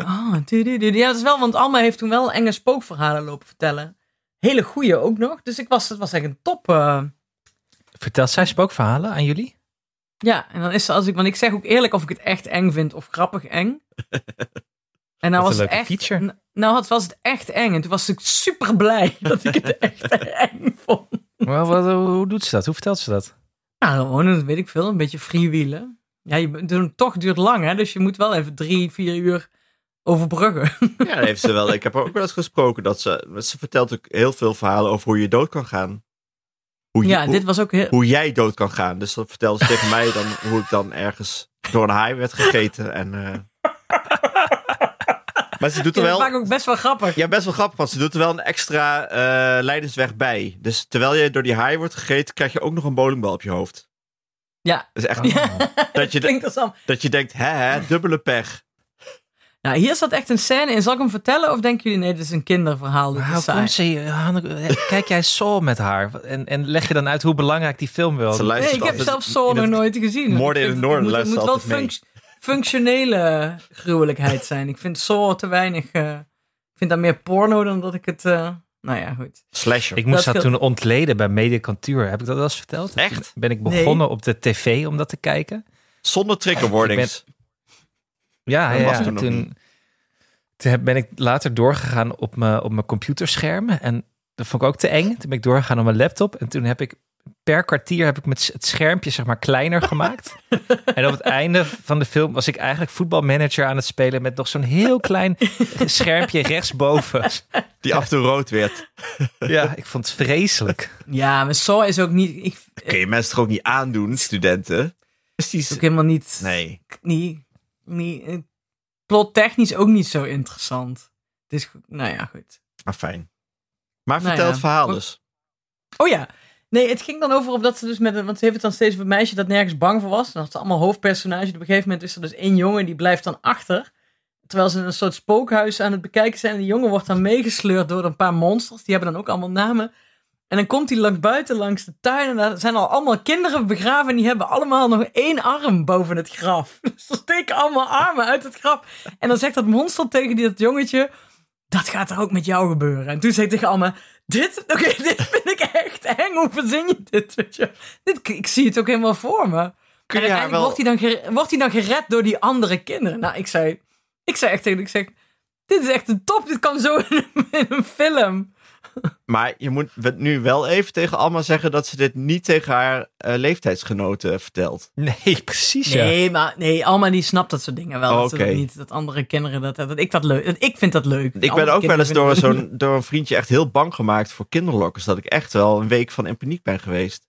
Speaker 2: Oh, du- du- du- du. Ja, dat is wel, want Alma heeft toen wel enge spookverhalen lopen vertellen. Hele goeie ook nog. Dus ik was, het was echt een top. eh,
Speaker 4: Vertelt zij spookverhalen aan jullie?
Speaker 2: Ja, en dan is ze als ik, want ik zeg ook eerlijk of ik het echt eng vind of grappig eng. En nou
Speaker 4: een
Speaker 2: was het
Speaker 4: leuke
Speaker 2: echt,
Speaker 4: feature.
Speaker 2: n- Nou had, was het echt eng en toen was ik super blij dat ik het echt eng vond.
Speaker 4: Maar wat, hoe doet ze dat? Hoe vertelt ze dat?
Speaker 2: Nou, dan gewoon, dat weet ik veel, een beetje freewheelen. Ja, je, bent- doen- toch duurt lang, hè? Dus je moet wel even drie, vier uur overbruggen.
Speaker 3: Ja, dat heeft ze wel. Ik heb haar ook wel eens gesproken dat ze. Ze vertelt ook heel veel verhalen over hoe je dood kan gaan. Hoe, je-
Speaker 2: Ja,
Speaker 3: hoe,
Speaker 2: dit was ook heel...
Speaker 3: hoe jij dood kan gaan. Dus dat vertelde ze tegen mij dan hoe ik dan ergens door een haai werd gegeten. En, eh. Maar ze doet er
Speaker 2: Ja, dat
Speaker 3: wel.
Speaker 2: maakt ook best wel grappig.
Speaker 3: Ja, best wel grappig, want ze doet er wel een extra eh leidersweg bij. Dus terwijl je door die haai wordt gegeten, krijg je ook nog een bowlingbal op je hoofd.
Speaker 2: Ja.
Speaker 3: Dat is echt
Speaker 2: Ja,
Speaker 3: dat, je
Speaker 2: Ah. klinkt als am-
Speaker 3: dat je denkt, hè, hè, dubbele pech.
Speaker 2: Nou, hier staat echt een scène in. Zal ik hem vertellen? Of denken jullie, nee, dit is een kinderverhaal. Dit
Speaker 4: Maar
Speaker 2: is
Speaker 4: Hoe
Speaker 2: saai.
Speaker 4: komt ze hier? Hanneke, eh, Kijk jij Saul met haar? En, en leg je dan uit hoe belangrijk die film wel is?
Speaker 3: Ze
Speaker 2: Nee,
Speaker 3: luistert
Speaker 2: ik heb
Speaker 3: altijd
Speaker 2: zelf Saw
Speaker 3: in
Speaker 2: nog
Speaker 3: het-
Speaker 2: nooit gezien.
Speaker 3: Moorden in
Speaker 2: Ik
Speaker 3: het
Speaker 2: vind-
Speaker 3: Noorden
Speaker 2: moet- Het moet wel
Speaker 3: luistert altijd
Speaker 2: funct- functionele gruwelijkheid zijn. Ik vind Saw te weinig... eh, ik vind dat meer porno dan dat ik het... eh, nou ja, goed.
Speaker 3: Slasher.
Speaker 4: Ik moest
Speaker 2: Dat
Speaker 4: dat,
Speaker 2: scheelt.
Speaker 4: toen ontleden bij Mediacantuur. Heb ik dat wel eens verteld?
Speaker 3: Echt?
Speaker 4: Ben ik
Speaker 2: Nee.
Speaker 4: begonnen op de tv om dat te kijken?
Speaker 3: Zonder trigger warnings.
Speaker 4: Ja,
Speaker 3: Dat
Speaker 4: ja,
Speaker 3: was
Speaker 4: ja.
Speaker 3: toen nog niet.
Speaker 4: toen, toen heb- ben ik later doorgegaan op mijn, op mijn computerscherm. En dat vond ik ook te eng. Toen ben ik doorgegaan op mijn laptop. En toen heb ik per kwartier heb ik met het schermpje zeg maar kleiner gemaakt. en op het einde van de film was ik eigenlijk voetbalmanager aan het spelen... met nog zo'n heel klein schermpje rechtsboven.
Speaker 3: Die af en toe rood werd.
Speaker 4: Ja, ik vond het vreselijk.
Speaker 2: Ja, maar Saw is ook niet... Ik,
Speaker 3: Kun je mensen toch ook niet aandoen, studenten? Precies.
Speaker 2: is ook helemaal niet...
Speaker 3: Nee.
Speaker 2: niet, niet eh, plottechnisch ook niet zo interessant. Het is, go- nou ja, goed.
Speaker 3: Maar fijn. Maar
Speaker 2: Nou
Speaker 3: vertel
Speaker 2: ja.
Speaker 3: het verhaal dus.
Speaker 2: Oh ja, nee, het ging dan over op dat ze dus met een, want ze heeft het dan steeds over een meisje dat nergens bang voor was. Dan had ze allemaal hoofdpersonage. Op een gegeven moment is er dus één jongen die blijft dan achter. Terwijl ze een soort spookhuis aan het bekijken zijn. En die jongen wordt dan meegesleurd door een paar monsters. Die hebben dan ook allemaal namen. En dan komt hij langs buiten, langs de tuin. En daar zijn al allemaal kinderen begraven. En die hebben allemaal nog één arm boven het graf. Dus ze steken allemaal armen uit het graf. En dan zegt dat monster tegen die, dat jongetje. Dat gaat er ook met jou gebeuren. En toen zei ik tegen Alma. Dit, oké, dit vind ik echt eng. Hoe verzin je dit? Weet je? dit? Ik zie het ook helemaal voor me.
Speaker 3: Kun
Speaker 2: en
Speaker 3: je haar
Speaker 2: uiteindelijk wordt, hij dan gere- wordt hij dan gered door die andere kinderen. Nou, ik zei, ik zei echt tegen ik zeg, dit is echt een top. Dit kan zo in een, in een film.
Speaker 3: Maar je moet het nu wel even tegen Alma zeggen dat ze dit niet tegen haar eh, leeftijdsgenoten vertelt.
Speaker 4: Nee, precies ja.
Speaker 2: Nee, maar nee, Alma die snapt dat soort dingen wel.
Speaker 3: Oh,
Speaker 2: dat ze dat
Speaker 3: oké.
Speaker 2: niet dat andere kinderen dat, dat ik dat leuk. Dat, ik vind dat leuk.
Speaker 3: Ik ben
Speaker 2: Andere
Speaker 3: ook wel eens
Speaker 2: kinderen
Speaker 3: door,
Speaker 2: vinden-
Speaker 3: zo'n, door een vriendje echt heel bang gemaakt voor kinderlokkers. Dat ik echt wel een week van in paniek ben geweest.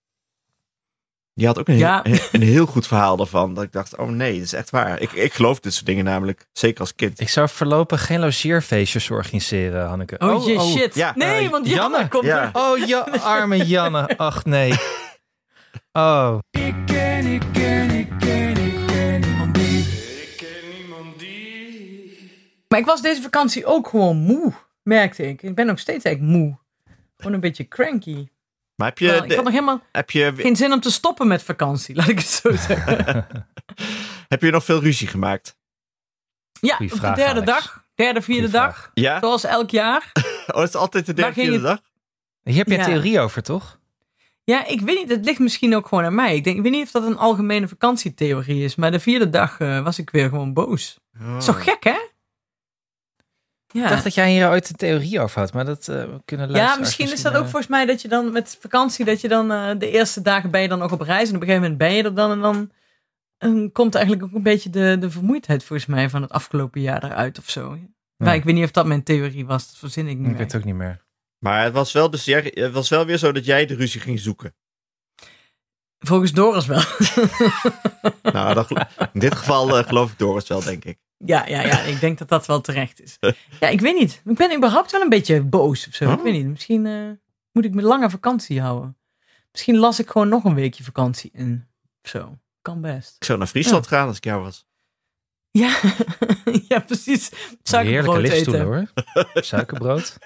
Speaker 3: Die had ook een,
Speaker 2: Ja.
Speaker 3: heel, een heel goed verhaal daarvan. Dat ik dacht, oh nee, dat is echt waar. Ik, ik geloof dit soort dingen namelijk, zeker als kind.
Speaker 4: Ik zou voorlopig geen logeerfeestjes organiseren, Hanneke.
Speaker 2: Oh, je shit.
Speaker 3: ja,
Speaker 2: nee,
Speaker 4: eh,
Speaker 2: want Janne,
Speaker 4: Janne.
Speaker 2: komt
Speaker 3: Ja.
Speaker 2: er.
Speaker 4: Oh, ja, arme Janne. Ach, nee. Oh,
Speaker 5: Ik ken, ik ken, ik ken, ik ken niemand die. Ik ken niemand die.
Speaker 2: Maar ik was deze vakantie ook gewoon moe, merkte ik. Ik ben nog steeds echt moe. Gewoon een beetje cranky.
Speaker 3: Maar heb je,
Speaker 2: Wel, ik
Speaker 3: de-
Speaker 2: had nog helemaal
Speaker 3: heb, je,
Speaker 2: geen zin om te stoppen met vakantie, laat ik het zo zeggen.
Speaker 3: heb je nog veel ruzie gemaakt?
Speaker 2: Ja,
Speaker 4: Goeie
Speaker 2: op
Speaker 4: vraag,
Speaker 2: de derde
Speaker 4: Alex.
Speaker 2: dag. Derde, vierde
Speaker 4: Goeie
Speaker 2: dag.
Speaker 3: Ja?
Speaker 2: Zoals elk jaar.
Speaker 3: Oh, het is altijd de derde
Speaker 2: ging
Speaker 3: vierde dag?
Speaker 4: hier heb je
Speaker 2: Ja.
Speaker 4: een theorie over, toch?
Speaker 2: Ja, ik weet niet. Het ligt misschien ook gewoon aan mij. Ik, denk, ik weet niet of dat een algemene vakantietheorie is. Maar de vierde dag eh, was ik weer gewoon boos. Zo
Speaker 4: Oh.
Speaker 3: Oh.
Speaker 2: gek, hè? Ja,
Speaker 4: Ik dacht dat jij hier ooit een theorie over had, maar dat eh, we kunnen
Speaker 2: ja
Speaker 4: luisteraars
Speaker 2: misschien is dat ook
Speaker 4: eh,
Speaker 2: volgens mij dat je dan met vakantie... dat je dan eh, de eerste dagen ben je dan nog op reis. En op een gegeven moment ben je er dan. En dan eh, komt eigenlijk ook een beetje de, de vermoeidheid volgens mij... van het afgelopen jaar eruit of zo. Maar ik weet niet of dat mijn theorie was. Dat verzin ik niet
Speaker 4: Ik
Speaker 2: meer.
Speaker 4: weet het ook niet meer.
Speaker 3: Maar het was, wel dus, jij- het was wel weer zo dat jij de ruzie ging zoeken.
Speaker 2: Volgens Doris wel.
Speaker 3: Nou, dat gelo- in dit geval eh, geloof ik Doris wel, denk ik.
Speaker 2: Ja, ja, ja, ik denk dat dat wel terecht is. Ja, ik weet niet. Ik ben überhaupt wel een beetje boos of zo.
Speaker 4: Oh.
Speaker 2: Ik weet niet. Misschien eh, moet ik me lange vakantie houden. Misschien las ik gewoon nog een weekje vakantie in. Of zo. Kan best.
Speaker 3: Ik zou naar Friesland gaan als ik jou was.
Speaker 2: Ja, ja precies.
Speaker 4: Heerlijke
Speaker 2: Suikerbrood
Speaker 4: lifstoelen,
Speaker 2: eten.
Speaker 4: hoor. Suikerbrood.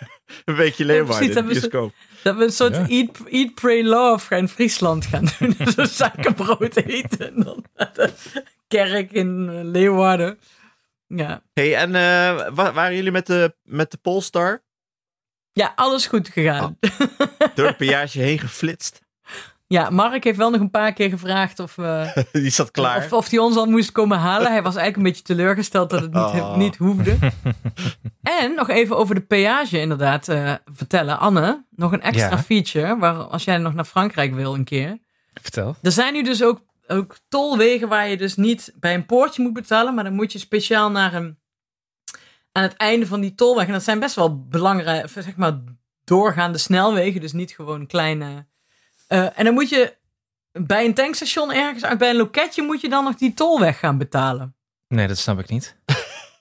Speaker 3: Een beetje
Speaker 2: Ja,
Speaker 3: Leeuwarden
Speaker 2: precies,
Speaker 3: in de
Speaker 2: dat was-
Speaker 3: bioscoop.
Speaker 2: Dat we een soort
Speaker 4: Ja.
Speaker 2: eat, eat, pray, love gaan in Friesland gaan doen. Zo'n suikerbrood eten. En dan naar de kerk in eh, Leeuwarden. Ja.
Speaker 3: hey, en eh, wa- waren jullie met de, met de Polestar
Speaker 4: Ah.
Speaker 2: ja, alles goed gegaan.
Speaker 3: door het peage heen geflitst?
Speaker 2: Ja, Mark heeft wel nog een paar keer gevraagd of, eh,
Speaker 3: Die zat klaar.
Speaker 2: of, of hij ons al moest komen halen. Hij was eigenlijk een beetje teleurgesteld dat het niet,
Speaker 3: Oh.
Speaker 2: niet hoefde. En nog even over de peage inderdaad eh, vertellen. Anne, nog een extra
Speaker 4: Ja.
Speaker 2: feature, waar, als jij nog naar Frankrijk wil een keer.
Speaker 4: Vertel.
Speaker 2: Er zijn nu dus ook, ook tolwegen waar je dus niet bij een poortje moet betalen, maar dan moet je speciaal naar een. aan het einde van die tolweg. En dat zijn best wel belangrijke, of zeg maar, doorgaande snelwegen, dus niet gewoon kleine. eh, en dan moet je bij een tankstation ergens uit, bij een loketje, moet je dan nog die tolweg gaan betalen.
Speaker 4: Nee, dat snap ik niet.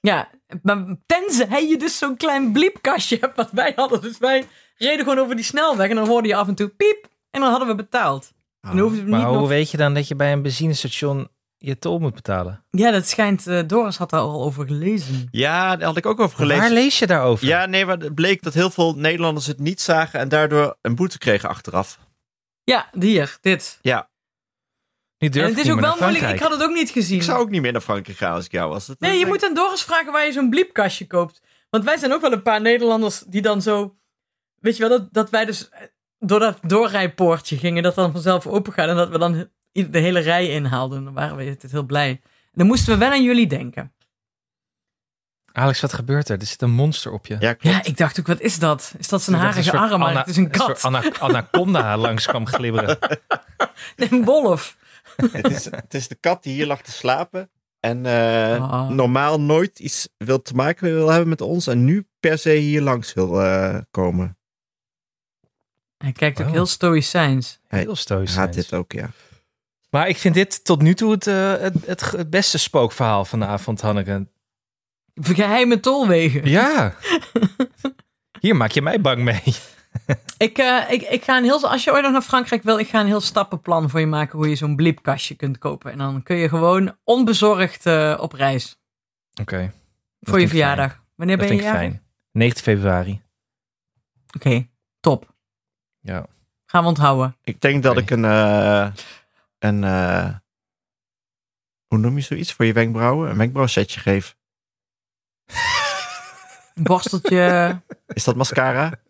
Speaker 2: Ja, maar tenzij je dus zo'n klein bliepkastje hebt, wat wij hadden. Dus wij reden gewoon over die snelweg en dan hoorde je af en toe piep. En dan hadden we betaald. En dan hoefden we
Speaker 4: Oh, Maar
Speaker 2: niet
Speaker 4: hoe
Speaker 2: nog
Speaker 4: weet je dan dat je bij een benzinestation je tol moet betalen?
Speaker 2: Ja, dat schijnt. eh, Doris had daar al over gelezen.
Speaker 3: Ja, daar had ik ook over gelezen.
Speaker 4: Waar lees je daarover?
Speaker 3: Ja, nee, maar het bleek dat heel veel Nederlanders het niet zagen en daardoor een boete kregen achteraf.
Speaker 2: Ja, hier, dit.
Speaker 4: Nu durf
Speaker 2: en het
Speaker 4: ik
Speaker 2: is
Speaker 4: niet
Speaker 2: ook
Speaker 4: meer
Speaker 2: wel
Speaker 4: naar
Speaker 2: moeilijk. Ik
Speaker 4: Frankrijk.
Speaker 2: had het ook niet gezien.
Speaker 3: Ik zou ook niet meer naar Frankrijk gaan als ik jou was. Dat-
Speaker 2: Nee, je
Speaker 3: dat-
Speaker 2: moet aan Doris vragen waar je zo'n bliepkastje koopt. Want wij zijn ook wel een paar Nederlanders die dan zo. Weet je wel, dat, dat wij dus eh, door dat doorrijpoortje gingen, dat dan vanzelf open gaat en dat we dan i- de hele rij inhaalden. Dan waren we altijd heel blij. En dan moesten we wel aan jullie denken.
Speaker 4: Alex, wat gebeurt er? Er zit een monster op je.
Speaker 3: Ja, klopt.
Speaker 2: Ja, ik dacht ook, wat is dat? Is dat zijn
Speaker 4: Ik dacht
Speaker 2: harige
Speaker 4: soort
Speaker 2: arm? Maar
Speaker 4: ana-
Speaker 2: het is een
Speaker 4: soort
Speaker 2: kat.
Speaker 4: ana- anaconda langs kwam glibberen.
Speaker 2: Een wolf.
Speaker 3: het, is, het is de kat die hier lag te slapen. En eh,
Speaker 2: Ah.
Speaker 3: normaal nooit iets wil te maken wil hebben met ons. En nu per se hier langs wil eh, komen.
Speaker 2: Hij kijkt ook
Speaker 4: Wow.
Speaker 2: heel stoïcijns.
Speaker 4: Heel stoïcijns.
Speaker 3: Gaat dit ook, ja.
Speaker 4: Maar ik vind dit tot nu toe het, eh, het, het, ge- het beste spookverhaal van de avond, Hanneke.
Speaker 2: Geheime tolwegen.
Speaker 4: Ja. Hier maak je mij bang mee.
Speaker 2: Ik, eh, ik, ik ga een heel, als je ooit nog naar Frankrijk wil, ik ga een heel stappenplan voor je maken hoe je zo'n bliepkastje kunt kopen. En dan kun je gewoon onbezorgd eh, op reis
Speaker 4: Oké,
Speaker 2: voor je
Speaker 4: vind ik fijn.
Speaker 2: verjaardag. Wanneer
Speaker 4: dat
Speaker 2: ben
Speaker 4: vind
Speaker 2: je
Speaker 4: ik
Speaker 2: jarig?
Speaker 4: fijn. 9 februari.
Speaker 2: Oké, top.
Speaker 4: Ja.
Speaker 2: Gaan we onthouden.
Speaker 3: Ik denk dat
Speaker 4: Oké.
Speaker 3: ik een. eh, een eh, hoe noem je zoiets voor je wenkbrauwen? Een wenkbrauwsetje geef.
Speaker 2: Een borsteltje.
Speaker 3: Is dat mascara?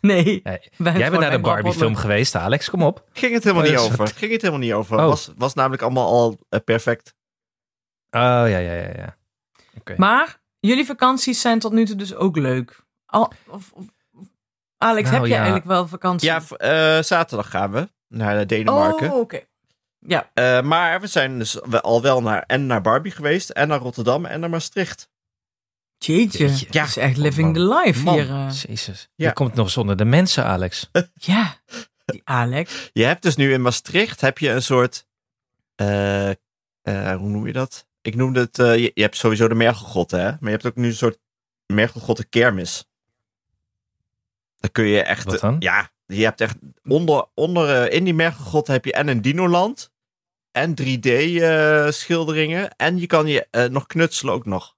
Speaker 2: Nee.
Speaker 4: Ja,
Speaker 2: wij
Speaker 4: Jij bent naar de
Speaker 2: gewoon
Speaker 4: Barbie film
Speaker 2: enkel
Speaker 4: geweest, Alex. Kom op.
Speaker 3: Ging het helemaal
Speaker 4: Oh,
Speaker 3: niet
Speaker 4: dat is
Speaker 3: over. Ging het helemaal niet over.
Speaker 4: Oh.
Speaker 3: Was, was namelijk allemaal al eh, perfect.
Speaker 4: Oh, ja, ja, ja. ja.
Speaker 2: bobbelen. Maar jullie vakanties zijn tot nu toe dus ook leuk. Al, of, of- Alex,
Speaker 4: Nou,
Speaker 2: heb jij
Speaker 4: ja.
Speaker 2: eigenlijk wel vakantie?
Speaker 3: Ja, v- eh, zaterdag gaan we naar eh, Denemarken.
Speaker 2: Oh, oké. Ja,
Speaker 3: Eh, maar we zijn dus we- al wel naar, en naar Barbie geweest, en naar Rotterdam, en naar Maastricht.
Speaker 2: jeetje.
Speaker 4: Jeetje.
Speaker 2: Ja. is echt living
Speaker 4: Oh,
Speaker 2: the life
Speaker 3: Man.
Speaker 2: hier. eh.
Speaker 4: Jezus.
Speaker 3: Ja.
Speaker 4: Je komt nog zonder de mensen, Alex.
Speaker 2: Ja, die Alex.
Speaker 3: Je hebt dus nu in Maastricht heb je een soort. eh, eh, hoe noem je dat? Ik noemde het. eh, je, je hebt sowieso de Mergelgod, hè? Maar je hebt ook nu een soort Mergelgotte kermis. Dan kun je echt.
Speaker 4: Wat dan?
Speaker 3: Ja, je hebt echt. Onder, onder, eh, in die Mergelgod heb je en een Dinoland. En 3D-schilderingen. en je kan je eh, nog knutselen ook nog.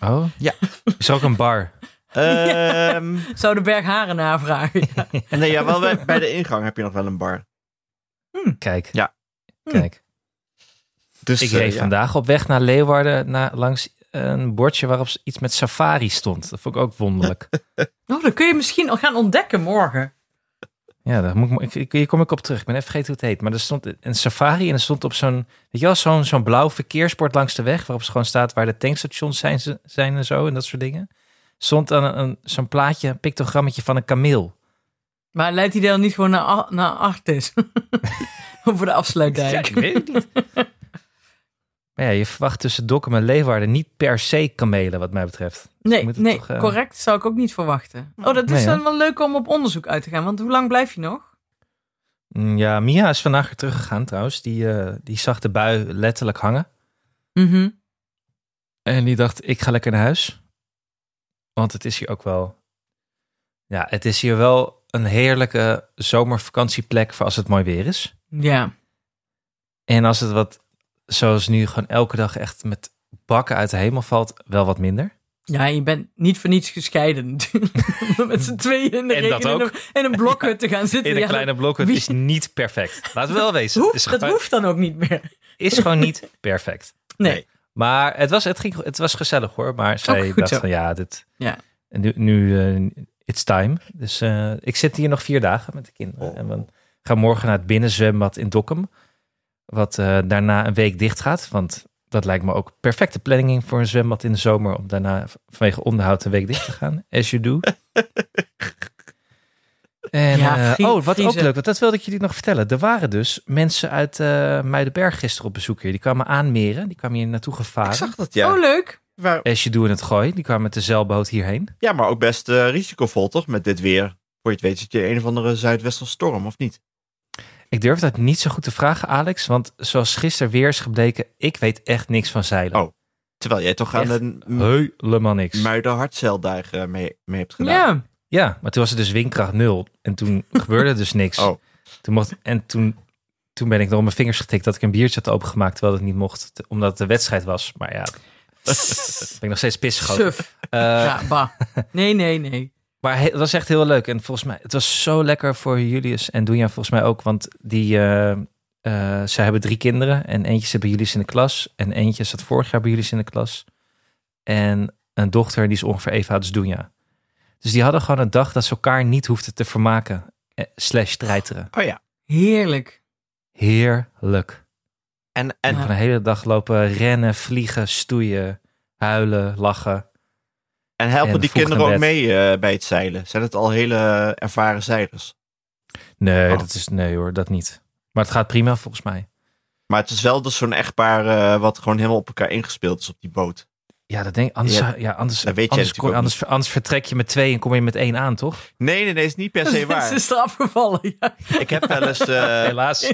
Speaker 4: Oh?
Speaker 3: Ja.
Speaker 4: Is er ook een bar?
Speaker 3: Ehm
Speaker 2: Zou de berg haren navragen? Ja.
Speaker 3: Nee, ja, wel bij, bij de ingang heb je nog wel een bar.
Speaker 4: Kijk. Hm.
Speaker 3: Ja.
Speaker 4: Kijk.
Speaker 3: Dus,
Speaker 4: Ik
Speaker 3: eh,
Speaker 4: reed
Speaker 3: ja.
Speaker 4: vandaag op weg naar Leeuwarden na, langs een bordje waarop iets met safari stond. Dat vond ik ook wonderlijk.
Speaker 2: Oh, dat kun je misschien al gaan ontdekken morgen.
Speaker 4: ja, daar moet ik, ik- ik- hier kom ik op terug. Ik ben even vergeten hoe het heet. Maar er stond een safari en er stond op zo'n, weet je wel, zo'n zo'n blauw verkeersbord langs de weg. Waarop gewoon staat waar de tankstations zijn, ze- zijn en zo en dat soort dingen. Stond dan een, een- zo'n plaatje, een pictogrammetje van een kameel.
Speaker 2: Maar leidt die dan niet gewoon naar, a- naar Artis? Over de afsluitdijk.
Speaker 4: weet het niet. Maar ja, je verwacht tussen Dokkum en Leeuwarden niet per se kamelen, wat mij betreft.
Speaker 2: nee,
Speaker 4: moet het
Speaker 2: nee
Speaker 4: toch, eh,
Speaker 2: correct zou ik ook niet verwachten. Oh, dat is
Speaker 4: Nee, hè?
Speaker 2: dan wel leuk om op onderzoek uit te gaan. Want hoe lang blijf je nog?
Speaker 4: Mm, Ja, Mia is vandaag weer teruggegaan trouwens. Die, eh, die zag de bui letterlijk hangen.
Speaker 2: Mhm.
Speaker 4: En die dacht, ik ga lekker naar huis. Want het is hier ook wel... Ja, het is hier wel een heerlijke zomervakantieplek voor als het mooi weer is.
Speaker 2: Ja.
Speaker 4: En als het wat, zoals nu, gewoon elke dag echt met bakken uit de hemel valt, wel wat minder.
Speaker 2: ja, je bent niet voor niets gescheiden. natuurlijk. Om met z'n tweeën in de
Speaker 4: En dat
Speaker 2: regen in
Speaker 4: ook.
Speaker 2: een, in een blokhut te gaan zitten.
Speaker 4: In een
Speaker 2: Ja,
Speaker 4: kleine blok, het
Speaker 2: wie-
Speaker 4: is niet perfect. Laten we wel wezen.
Speaker 2: dat, hoeft,
Speaker 4: het is
Speaker 2: dat
Speaker 4: gewoon,
Speaker 2: hoeft dan ook niet meer.
Speaker 4: is gewoon niet perfect.
Speaker 2: Nee.
Speaker 3: Nee.
Speaker 4: Maar het was, het, ging, het was gezellig hoor. Maar zij
Speaker 2: goed
Speaker 4: dacht
Speaker 2: zo.
Speaker 4: van ja, dit.
Speaker 2: Ja.
Speaker 4: En nu, nu eh, It's time. Dus eh, ik zit hier nog vier dagen met de kinderen. En we gaan morgen naar het binnenzwembad in Dokkum. Wat eh, daarna een week dicht gaat. Want dat lijkt me ook perfecte planning voor een zwembad in de zomer. Om daarna vanwege onderhoud een week dicht te gaan. As you do. En,
Speaker 2: Ja,
Speaker 4: eh,
Speaker 2: vrie-
Speaker 4: oh, wat ook
Speaker 2: vriezen.
Speaker 4: leuk, want dat wilde ik jullie nog vertellen. Er waren dus mensen uit eh, Muidenberg gisteren op bezoek hier. Die kwamen aanmeren, die kwamen hier naartoe
Speaker 3: Ik
Speaker 4: gevaren.
Speaker 3: zag dat, ja.
Speaker 2: Oh, leuk.
Speaker 3: Waar-
Speaker 4: Als je doet in het gooi, die kwamen met de zeilboot hierheen.
Speaker 3: ja, maar ook best eh, risicovol, toch? Met dit weer. Voor je het weet zit je in een of andere zuidwestelijke storm, of niet?
Speaker 4: Ik durf dat niet zo goed te vragen, Alex, want zoals gisteren weer is gebleken, ik weet echt niks van zeilen.
Speaker 3: Oh. Terwijl jij toch aan
Speaker 4: Echt?
Speaker 3: een m-
Speaker 4: Helemaal niks.
Speaker 3: muidenhartzeildag eh, mee, mee hebt gedaan.
Speaker 2: Ja.
Speaker 4: Ja, maar toen was het dus windkracht nul en toen gebeurde dus niks.
Speaker 3: Oh.
Speaker 4: Toen mocht, en toen, toen ben ik nog op mijn vingers getikt dat ik een biertje had opengemaakt, terwijl het niet mocht, te- omdat het de wedstrijd was. Maar ja, ben ik nog steeds pissig over.
Speaker 2: Suf.
Speaker 4: Eh,
Speaker 2: Ja, bah. Nee, nee, nee.
Speaker 4: Maar he- het was echt heel leuk. En volgens mij, het was zo lekker voor Julius en Doenja volgens mij ook. Want die, eh, eh, zij hebben drie kinderen. En eentje zit bij Julius in de klas. En eentje zat vorig jaar bij Julius in de klas. En een dochter, die is ongeveer even oud als Doenja. Dus die hadden gewoon een dag dat ze elkaar niet hoefden te vermaken. Eh, slash treiteren.
Speaker 3: Oh ja.
Speaker 2: Heerlijk.
Speaker 4: Heerlijk.
Speaker 3: En,
Speaker 4: En
Speaker 3: en
Speaker 4: gewoon een hele dag lopen rennen, vliegen, stoeien, huilen, lachen.
Speaker 3: En helpen
Speaker 4: En
Speaker 3: die
Speaker 4: vroeg
Speaker 3: kinderen
Speaker 4: naar
Speaker 3: ook
Speaker 4: bed.
Speaker 3: mee eh, bij het zeilen? Zijn het al hele eh, ervaren zeilers?
Speaker 4: Nee,
Speaker 3: Oh.
Speaker 4: dat is, nee hoor, dat niet. Maar het gaat prima volgens mij.
Speaker 3: Maar het is wel dus zo'n echtpaar eh, wat gewoon helemaal op elkaar ingespeeld is op die boot.
Speaker 4: Ja, dat denk ik. Anders,
Speaker 3: Ja,
Speaker 4: ja, anders,
Speaker 3: dat weet jij
Speaker 4: anders,
Speaker 3: natuurlijk
Speaker 4: kon-
Speaker 3: ook
Speaker 4: anders, anders vertrek je met twee en kom je met één aan, toch?
Speaker 3: Nee, nee, nee, is niet per se
Speaker 2: Ze
Speaker 3: waar.
Speaker 2: is eraf gevallen. Ja.
Speaker 3: Ik heb wel eens eh,
Speaker 4: dus- Helaas.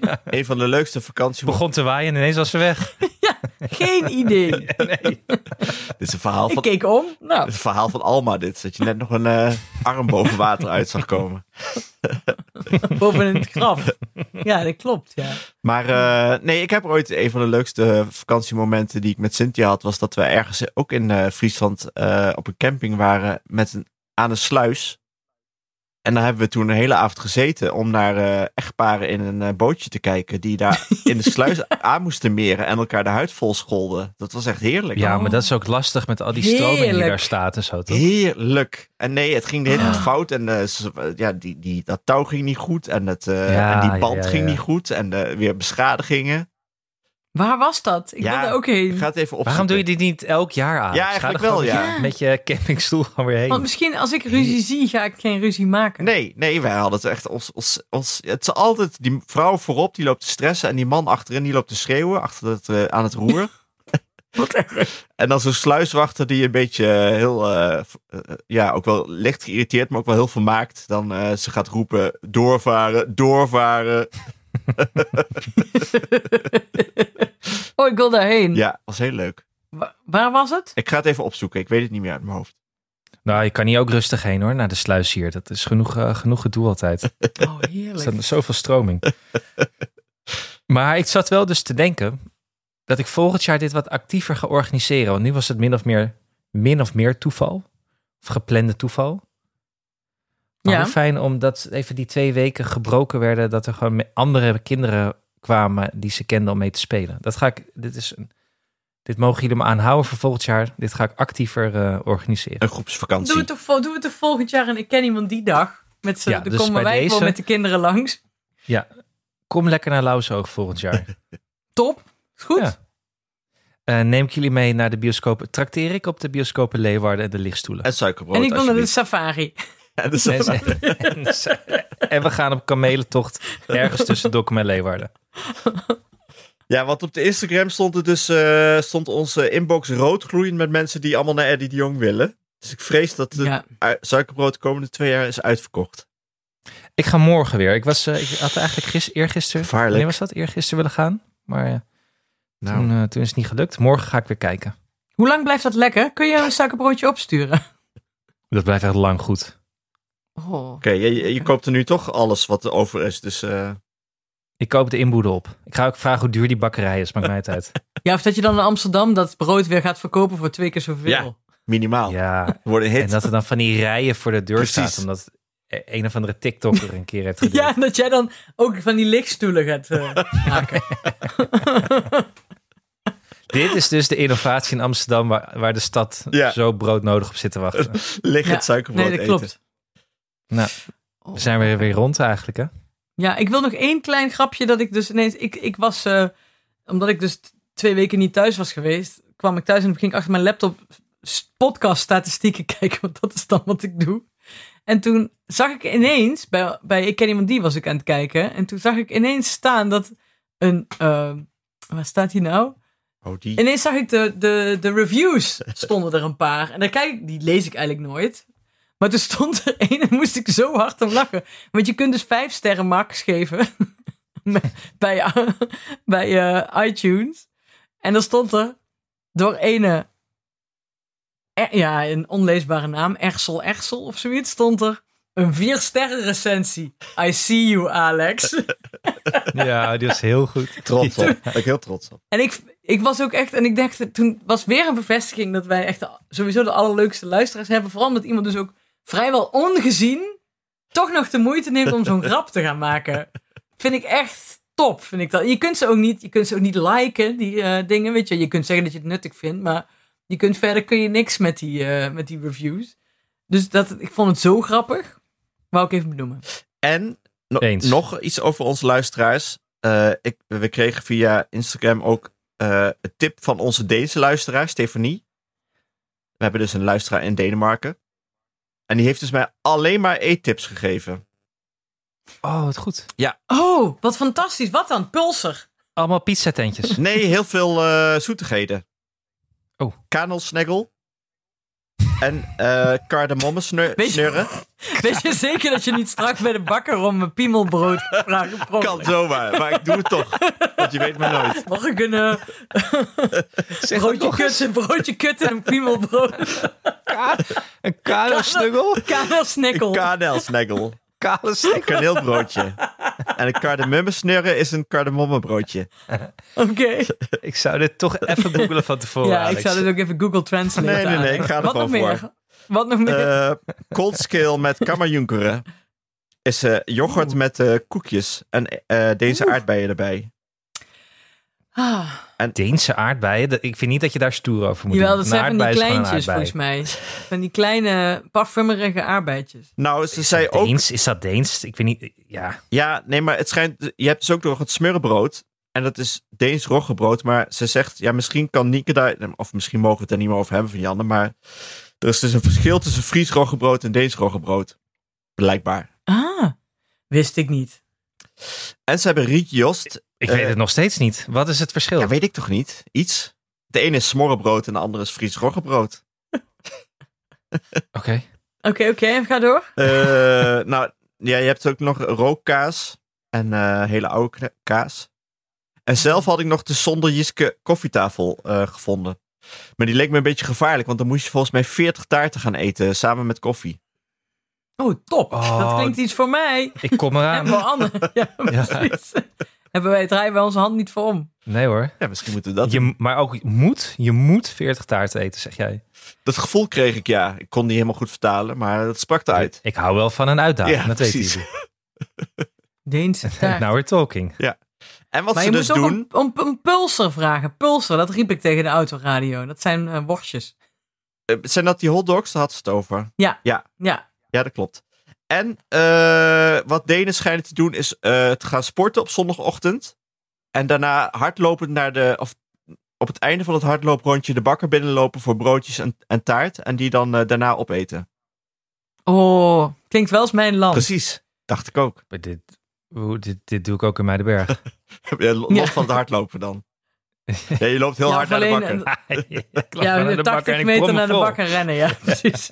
Speaker 4: Het
Speaker 3: een van de leukste vakanties.
Speaker 4: begon te waaien en ineens was ze weg.
Speaker 2: Geen idee.
Speaker 4: Nee.
Speaker 3: Dit is een verhaal
Speaker 2: Ik
Speaker 3: van,
Speaker 2: keek om. Nou,
Speaker 3: het verhaal van Alma, dit. Dat je net nog een eh, arm boven water uit zag komen.
Speaker 2: boven in het graf. Ja, dat klopt. Ja.
Speaker 3: Maar eh, nee, ik heb ooit een van de leukste vakantiemomenten die ik met Cynthia had, was dat we ergens ook in eh, Friesland eh, op een camping waren met een, aan een sluis. En daar hebben we toen een hele avond gezeten om naar eh, echtparen in een eh, bootje te kijken die daar in de sluis aan moesten meren en elkaar de huid vol scholden. Dat was echt heerlijk.
Speaker 4: Ja, maar dat is ook lastig met al die stromen die
Speaker 2: Heerlijk.
Speaker 4: daar staat en zo, toch? Ah.
Speaker 3: Heerlijk. En nee, het ging de hele tijd fout. En eh, ze- ja, die, die, dat touw ging niet goed. En, het, eh,
Speaker 4: Ja,
Speaker 3: en
Speaker 4: ja,
Speaker 3: die band
Speaker 4: ja,
Speaker 3: ging
Speaker 4: ja.
Speaker 3: niet goed. En eh, weer beschadigingen.
Speaker 2: Waar was dat? Ik
Speaker 3: Ja.
Speaker 2: wil er ook heen.
Speaker 3: Ik ga het even opzoeken.
Speaker 4: Waarom doe je dit niet elk jaar aan?
Speaker 3: Ja, eigenlijk wel, ja.
Speaker 4: Met je campingstoel gewoon weer
Speaker 2: Want
Speaker 4: heen.
Speaker 2: misschien als ik ruzie zie, ga ik geen ruzie maken.
Speaker 3: Nee, nee, wij hadden het echt ons, ons, ons... Het is altijd die vrouw voorop, die loopt te stressen. En die man achterin, die loopt te schreeuwen achter het, eh, aan het roer. En dan zo'n sluiswachter die een beetje eh, heel... eh, v- eh, ja, ook wel licht geïrriteerd, maar ook wel heel vermaakt. Dan eh, ze gaat roepen, doorvaren, doorvaren.
Speaker 2: Oh, ik wil daarheen.
Speaker 3: Ja, was heel leuk.
Speaker 2: Wa- Waar was het?
Speaker 3: Ik ga het even opzoeken. Ik weet het niet meer uit mijn hoofd.
Speaker 4: Nou, je kan hier ook rustig heen, hoor, naar de sluis hier. Dat is genoeg, eh, genoeg gedoe altijd. Er
Speaker 2: Oh, heerlijk.
Speaker 4: staat zoveel stroming. Maar ik zat wel dus te denken dat ik volgend jaar dit wat actiever ga organiseren. Want nu was het min of meer, min of meer toeval. Of geplande toeval. Maar
Speaker 2: Ja.
Speaker 4: hoe fijn omdat even die twee weken gebroken werden. Dat er gewoon me- andere kinderen kwamen die ze kenden om mee te spelen. Dat ga ik, dit is een, dit mogen jullie me aanhouden voor volgend jaar. Dit ga ik actiever eh, organiseren.
Speaker 3: Een groepsvakantie.
Speaker 2: Doe het, toch, vol- doe het toch volgend jaar en ik ken iemand die dag. Met z'n,
Speaker 4: Ja,
Speaker 2: dan
Speaker 4: dus
Speaker 2: komen
Speaker 4: bij
Speaker 2: wij gewoon
Speaker 4: deze-
Speaker 2: met de kinderen langs.
Speaker 4: Kom lekker naar Lauwzoog volgend jaar.
Speaker 2: Top. Is goed.
Speaker 4: Ja. Eh, neem ik jullie mee naar de bioscoop. Trakteer ik op de bioscopen Leeuwarden en de lichtstoelen.
Speaker 3: En suikerbrood,
Speaker 2: en ik wil naar de
Speaker 3: alsjeblieft.
Speaker 2: safari.
Speaker 3: En de
Speaker 4: En,
Speaker 3: safari.
Speaker 4: en- en we gaan op kamelentocht ergens tussen Dokkum en Leeuwarden.
Speaker 3: Ja, want op de Instagram stond, het dus, eh, stond onze inbox roodgloeiend met mensen die allemaal naar Eddie de Jong willen. Dus ik vrees dat het
Speaker 2: Ja.
Speaker 3: ui- suikerbrood de komende twee jaar is uitverkocht.
Speaker 4: Ik ga morgen weer. Ik, was, eh, ik had eigenlijk gis, eergisteren...
Speaker 3: Gevaarlijk.
Speaker 4: Wanneer was dat? Eergisteren willen gaan. Maar eh,
Speaker 2: Nou.
Speaker 4: toen, eh, toen is het niet gelukt. Morgen ga ik weer kijken.
Speaker 2: Hoe lang blijft dat lekker? Kun je een suikerbroodje opsturen?
Speaker 4: Dat blijft echt lang goed.
Speaker 2: Oh.
Speaker 3: Oké, je- je, je koopt er nu toch alles wat er over is. Dus eh,
Speaker 4: Ik koop de inboedel op. Ik ga ook vragen hoe duur die bakkerij is. Maakt mij het uit.
Speaker 2: Ja, of dat je dan in Amsterdam dat brood weer gaat verkopen voor twee keer zoveel. Oh.
Speaker 3: minimaal.
Speaker 4: Ja.
Speaker 3: Wordt een hit.
Speaker 4: En dat er dan van die rijen voor de deur
Speaker 3: Precies.
Speaker 4: staat. Omdat e-, een of andere TikToker een keer heeft
Speaker 2: Ja,
Speaker 4: gedaan.
Speaker 2: en dat jij dan ook van die lichtstoelen gaat eh, maken.
Speaker 4: Dit is dus de innovatie in Amsterdam waar, waar de stad
Speaker 3: Ja.
Speaker 4: zo broodnodig op zit te wachten.
Speaker 3: Liggend
Speaker 2: Ja,
Speaker 3: suikerbrood
Speaker 2: Nee, dat
Speaker 3: eten.
Speaker 2: klopt.
Speaker 4: Nou, we zijn weer, weer rond eigenlijk, hè?
Speaker 2: Ja, ik wil nog één klein grapje dat ik dus ineens... Ik, ik was, eh, omdat ik dus t- twee weken niet thuis was geweest, kwam ik thuis en ging ik achter mijn laptop s- podcast-statistieken kijken, want dat is dan wat ik doe. En toen zag ik ineens, bij, bij Ik Ken Iemand Die was ik aan het kijken, en toen zag ik ineens staan dat een... eh, waar staat hij nou?
Speaker 3: Oh, die.
Speaker 2: Ineens zag ik de, de, de reviews, stonden er een paar. En daar kijk ik, die lees ik eigenlijk nooit. Maar toen stond er één en moest ik zo hard om lachen. Want je kunt dus vijf sterren max geven met- bij, bij eh, iTunes. En dan stond er door ene, eh, ja, een onleesbare naam, Ersel Ersel of zoiets, stond er een vier sterren recensie. I see you, Alex.
Speaker 4: Ja, die was heel goed.
Speaker 3: Trots op. Ben ik heel trots op.
Speaker 2: En ik, ik was ook echt, en ik dacht, toen was weer een bevestiging dat wij echt de- sowieso de allerleukste luisteraars hebben. Vooral omdat iemand dus ook vrijwel ongezien toch nog de moeite neemt om zo'n grap te gaan maken. Vind ik echt top, vind ik dat. Je kunt ze ook niet, je kunt ze ook niet liken, die eh, dingen, weet je. Je kunt zeggen dat je het nuttig vindt, maar je kunt, verder kun je niks met die, eh, met die reviews. Dus dat, ik vond het zo grappig. Wou ik even benoemen.
Speaker 3: En no-
Speaker 4: Eens.
Speaker 3: nog iets over onze luisteraars. Eh, ik, we kregen via Instagram ook eh, een tip van onze Deense luisteraar, Stefanie. We hebben dus een luisteraar in Denemarken. En die heeft dus mij alleen maar eettips gegeven.
Speaker 4: Oh, wat goed.
Speaker 2: Oh, wat fantastisch. Wat dan? Pulser.
Speaker 4: Allemaal pizzatentjes.
Speaker 3: Nee, heel veel eh, zoetigheden.
Speaker 4: Oh.
Speaker 3: Kanelsnaggel. En eh kardemommen sneur-
Speaker 2: Weet je-
Speaker 3: snurren.
Speaker 2: Weet je zeker dat je niet straks bij de bakker om een piemelbrood vraagt?
Speaker 3: Kan zomaar, maar ik doe het toch. Want je weet maar nooit.
Speaker 2: Mag ik een eh,
Speaker 4: Zeg dat
Speaker 2: broodje
Speaker 4: nog eens.
Speaker 2: kut, een broodje kut en een piemelbrood?
Speaker 4: Een kale snuggel.
Speaker 2: Karel
Speaker 3: Een
Speaker 2: Snikkel.
Speaker 3: kanelsnaggel.
Speaker 4: Kale snuggel.
Speaker 3: kaneelbroodje. en een kardemummesnurren is een kardemommebroodje.
Speaker 2: Oké.
Speaker 4: Ik zou dit toch even googelen van tevoren,
Speaker 2: ja,
Speaker 4: Alex.
Speaker 2: ik zou dit ook even Google Translate
Speaker 3: Nee, nee, nee,
Speaker 2: aanleggen.
Speaker 3: ik ga er
Speaker 2: Wat nog
Speaker 3: gewoon
Speaker 2: meer?
Speaker 3: voor.
Speaker 2: Wat nog meer?
Speaker 3: Eh Coldskill met kammerjunkeren is eh, yoghurt met eh, koekjes en eh, deze aardbeien erbij.
Speaker 2: Ah,
Speaker 4: Deense aardbeien. dat- Ik vind niet dat je daar stoer over moet
Speaker 2: jawel,
Speaker 4: doen.
Speaker 2: dat
Speaker 4: Een
Speaker 2: zijn van die
Speaker 4: aardbei is gewoon een
Speaker 2: kleintjes
Speaker 4: aardbei.
Speaker 2: volgens mij. Van die kleine parfumerige arbeidjes.
Speaker 3: Nou, ze zei
Speaker 4: Is dat
Speaker 3: ook...
Speaker 4: Deens? Is dat Deens? Ik weet niet. Ja.
Speaker 3: Ja, nee, maar het schijnt... Je hebt dus ook nog het smurrenbrood. En dat is Deens roggebrood. Maar ze zegt, ja, misschien kan Nieke daar... Of misschien mogen we het er niet meer over hebben van Janne. Maar er is dus een verschil tussen Fries roggebrood en Deens roggebrood. Blijkbaar.
Speaker 2: Ah, wist ik niet.
Speaker 3: En ze hebben rietjost.
Speaker 4: Ik
Speaker 3: Eh,
Speaker 4: weet het nog steeds niet. Wat is het verschil?
Speaker 2: Oh.
Speaker 3: Ja, weet ik toch niet? Iets. De ene is smorrebrood en de andere is Fries roggebrood.
Speaker 4: Oké.
Speaker 2: Oké, oké, en ga door.
Speaker 3: Eh, nou, ja, je hebt ook nog rookkaas en eh, hele oude kne- kaas. En zelf had ik nog de zonder Jiske koffietafel eh, gevonden. Maar die leek me een beetje gevaarlijk, want dan moest je volgens mij 40 taarten gaan eten samen met koffie.
Speaker 2: Oh, top.
Speaker 4: Oh.
Speaker 2: Dat klinkt iets voor mij.
Speaker 4: Ik kom
Speaker 2: En
Speaker 4: eraan.
Speaker 2: voor anderen. Ja, precies. Hebben wij, draaien wij onze hand niet voor om.
Speaker 4: Nee hoor.
Speaker 3: Ja, misschien moeten we dat.
Speaker 4: Je, maar ook moet. Je moet 40 taarten eten, zeg jij.
Speaker 3: Dat gevoel kreeg ik, ja. Ik kon die helemaal goed vertalen, maar dat sprak eruit.
Speaker 4: Ik hou wel van een uitdaging.
Speaker 3: Ja,
Speaker 4: dat
Speaker 3: precies.
Speaker 4: weten
Speaker 2: Deense
Speaker 4: jullie.
Speaker 2: taart.
Speaker 4: Now we're talking.
Speaker 3: En wat
Speaker 2: maar
Speaker 3: ze
Speaker 2: je
Speaker 3: dus
Speaker 2: moet ook
Speaker 3: doen.
Speaker 2: een, een, een pulser vragen. Pulser, dat riep ik tegen de autoradio. Dat zijn eh, worstjes.
Speaker 3: eh, zijn dat die hotdogs? Daar had ze het over.
Speaker 2: Ja.
Speaker 3: Ja, dat klopt. En eh, wat Denen schijnen te doen is eh te gaan sporten op zondagochtend. En daarna hardlopend naar de. Of op het einde van het hardlooprondje de bakker binnenlopen voor broodjes en, en taart. En die dan eh, daarna opeten.
Speaker 2: Oh, klinkt wel eens mijn land.
Speaker 3: Precies. Dacht ik ook.
Speaker 4: Maar dit, hoe- dit, dit doe ik ook in Muidenberg.
Speaker 3: Ja, lo-
Speaker 2: Ja.
Speaker 3: Los van het hardlopen dan. Ja, je loopt heel
Speaker 2: Ja,
Speaker 3: hard
Speaker 2: of
Speaker 3: naar de
Speaker 2: alleen
Speaker 3: bakker.
Speaker 2: een-
Speaker 4: Ik loop
Speaker 2: Ja,
Speaker 4: gewoon
Speaker 2: de
Speaker 4: naar bakker
Speaker 2: 80
Speaker 4: en ik
Speaker 2: meter
Speaker 4: prom me
Speaker 2: naar de
Speaker 4: vol.
Speaker 2: bakker rennen. Ja, precies.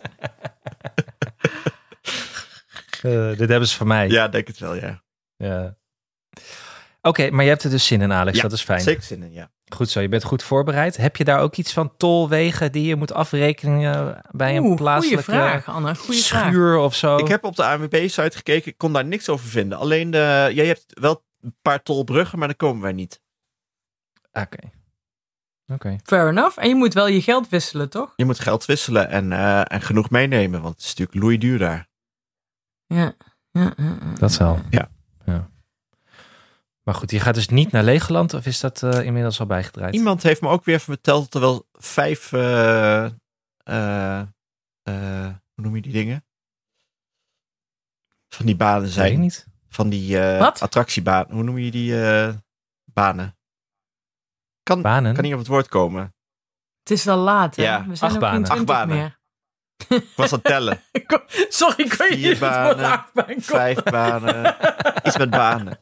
Speaker 4: Eh, dit hebben ze van mij.
Speaker 3: Ja, denk het wel, ja.
Speaker 4: Ja. Oké, maar je hebt er dus zin in, Alex.
Speaker 3: Ja,
Speaker 4: dat is fijn.
Speaker 3: Zeker zin in, ja.
Speaker 4: Goed zo, je bent goed voorbereid. Heb je daar ook iets van tolwegen die je moet afrekenen bij een
Speaker 2: Oeh, goeie
Speaker 4: plaatselijke
Speaker 2: vraag, Anne. Goeie vraag.
Speaker 4: schuur of
Speaker 2: Oh.
Speaker 4: zo?
Speaker 3: Ik heb op de ANWB-site gekeken. Ik kon daar niks over vinden. Alleen, de, ja, je hebt wel een paar tolbruggen, maar daar komen wij niet.
Speaker 4: Oké. Oké.
Speaker 2: Fair enough. En je moet wel je geld wisselen, toch?
Speaker 3: Je moet geld wisselen en, eh, en genoeg meenemen, want het is natuurlijk loeiduur daar.
Speaker 2: Ja. ja, ja, ja.
Speaker 4: Dat zal.
Speaker 3: Ja.
Speaker 4: ja. Maar goed, je gaat dus niet naar Legoland of is dat eh, inmiddels al bijgedraaid?
Speaker 3: Iemand heeft me ook weer verteld dat er wel vijf. eh, eh, eh, hoe noem je die dingen? Van die banen
Speaker 4: Weet ik
Speaker 3: zijn.
Speaker 4: niet.
Speaker 3: Van die eh,
Speaker 2: Wat?
Speaker 3: attractiebanen. Hoe noem je die eh, banen? Kan,
Speaker 4: Banen?
Speaker 3: kan niet op het woord komen.
Speaker 2: Het is wel laat, hè?
Speaker 3: Ja,
Speaker 2: We zijn
Speaker 4: acht
Speaker 2: ook geen
Speaker 4: banen.
Speaker 3: Acht
Speaker 2: 20
Speaker 3: banen.
Speaker 2: meer.
Speaker 3: Ik was aan het tellen.
Speaker 2: Sorry, ik weet
Speaker 3: Vier
Speaker 2: niet het woord
Speaker 3: banen,
Speaker 2: achtbaan komt.
Speaker 3: Vijf banen. Iets met banen.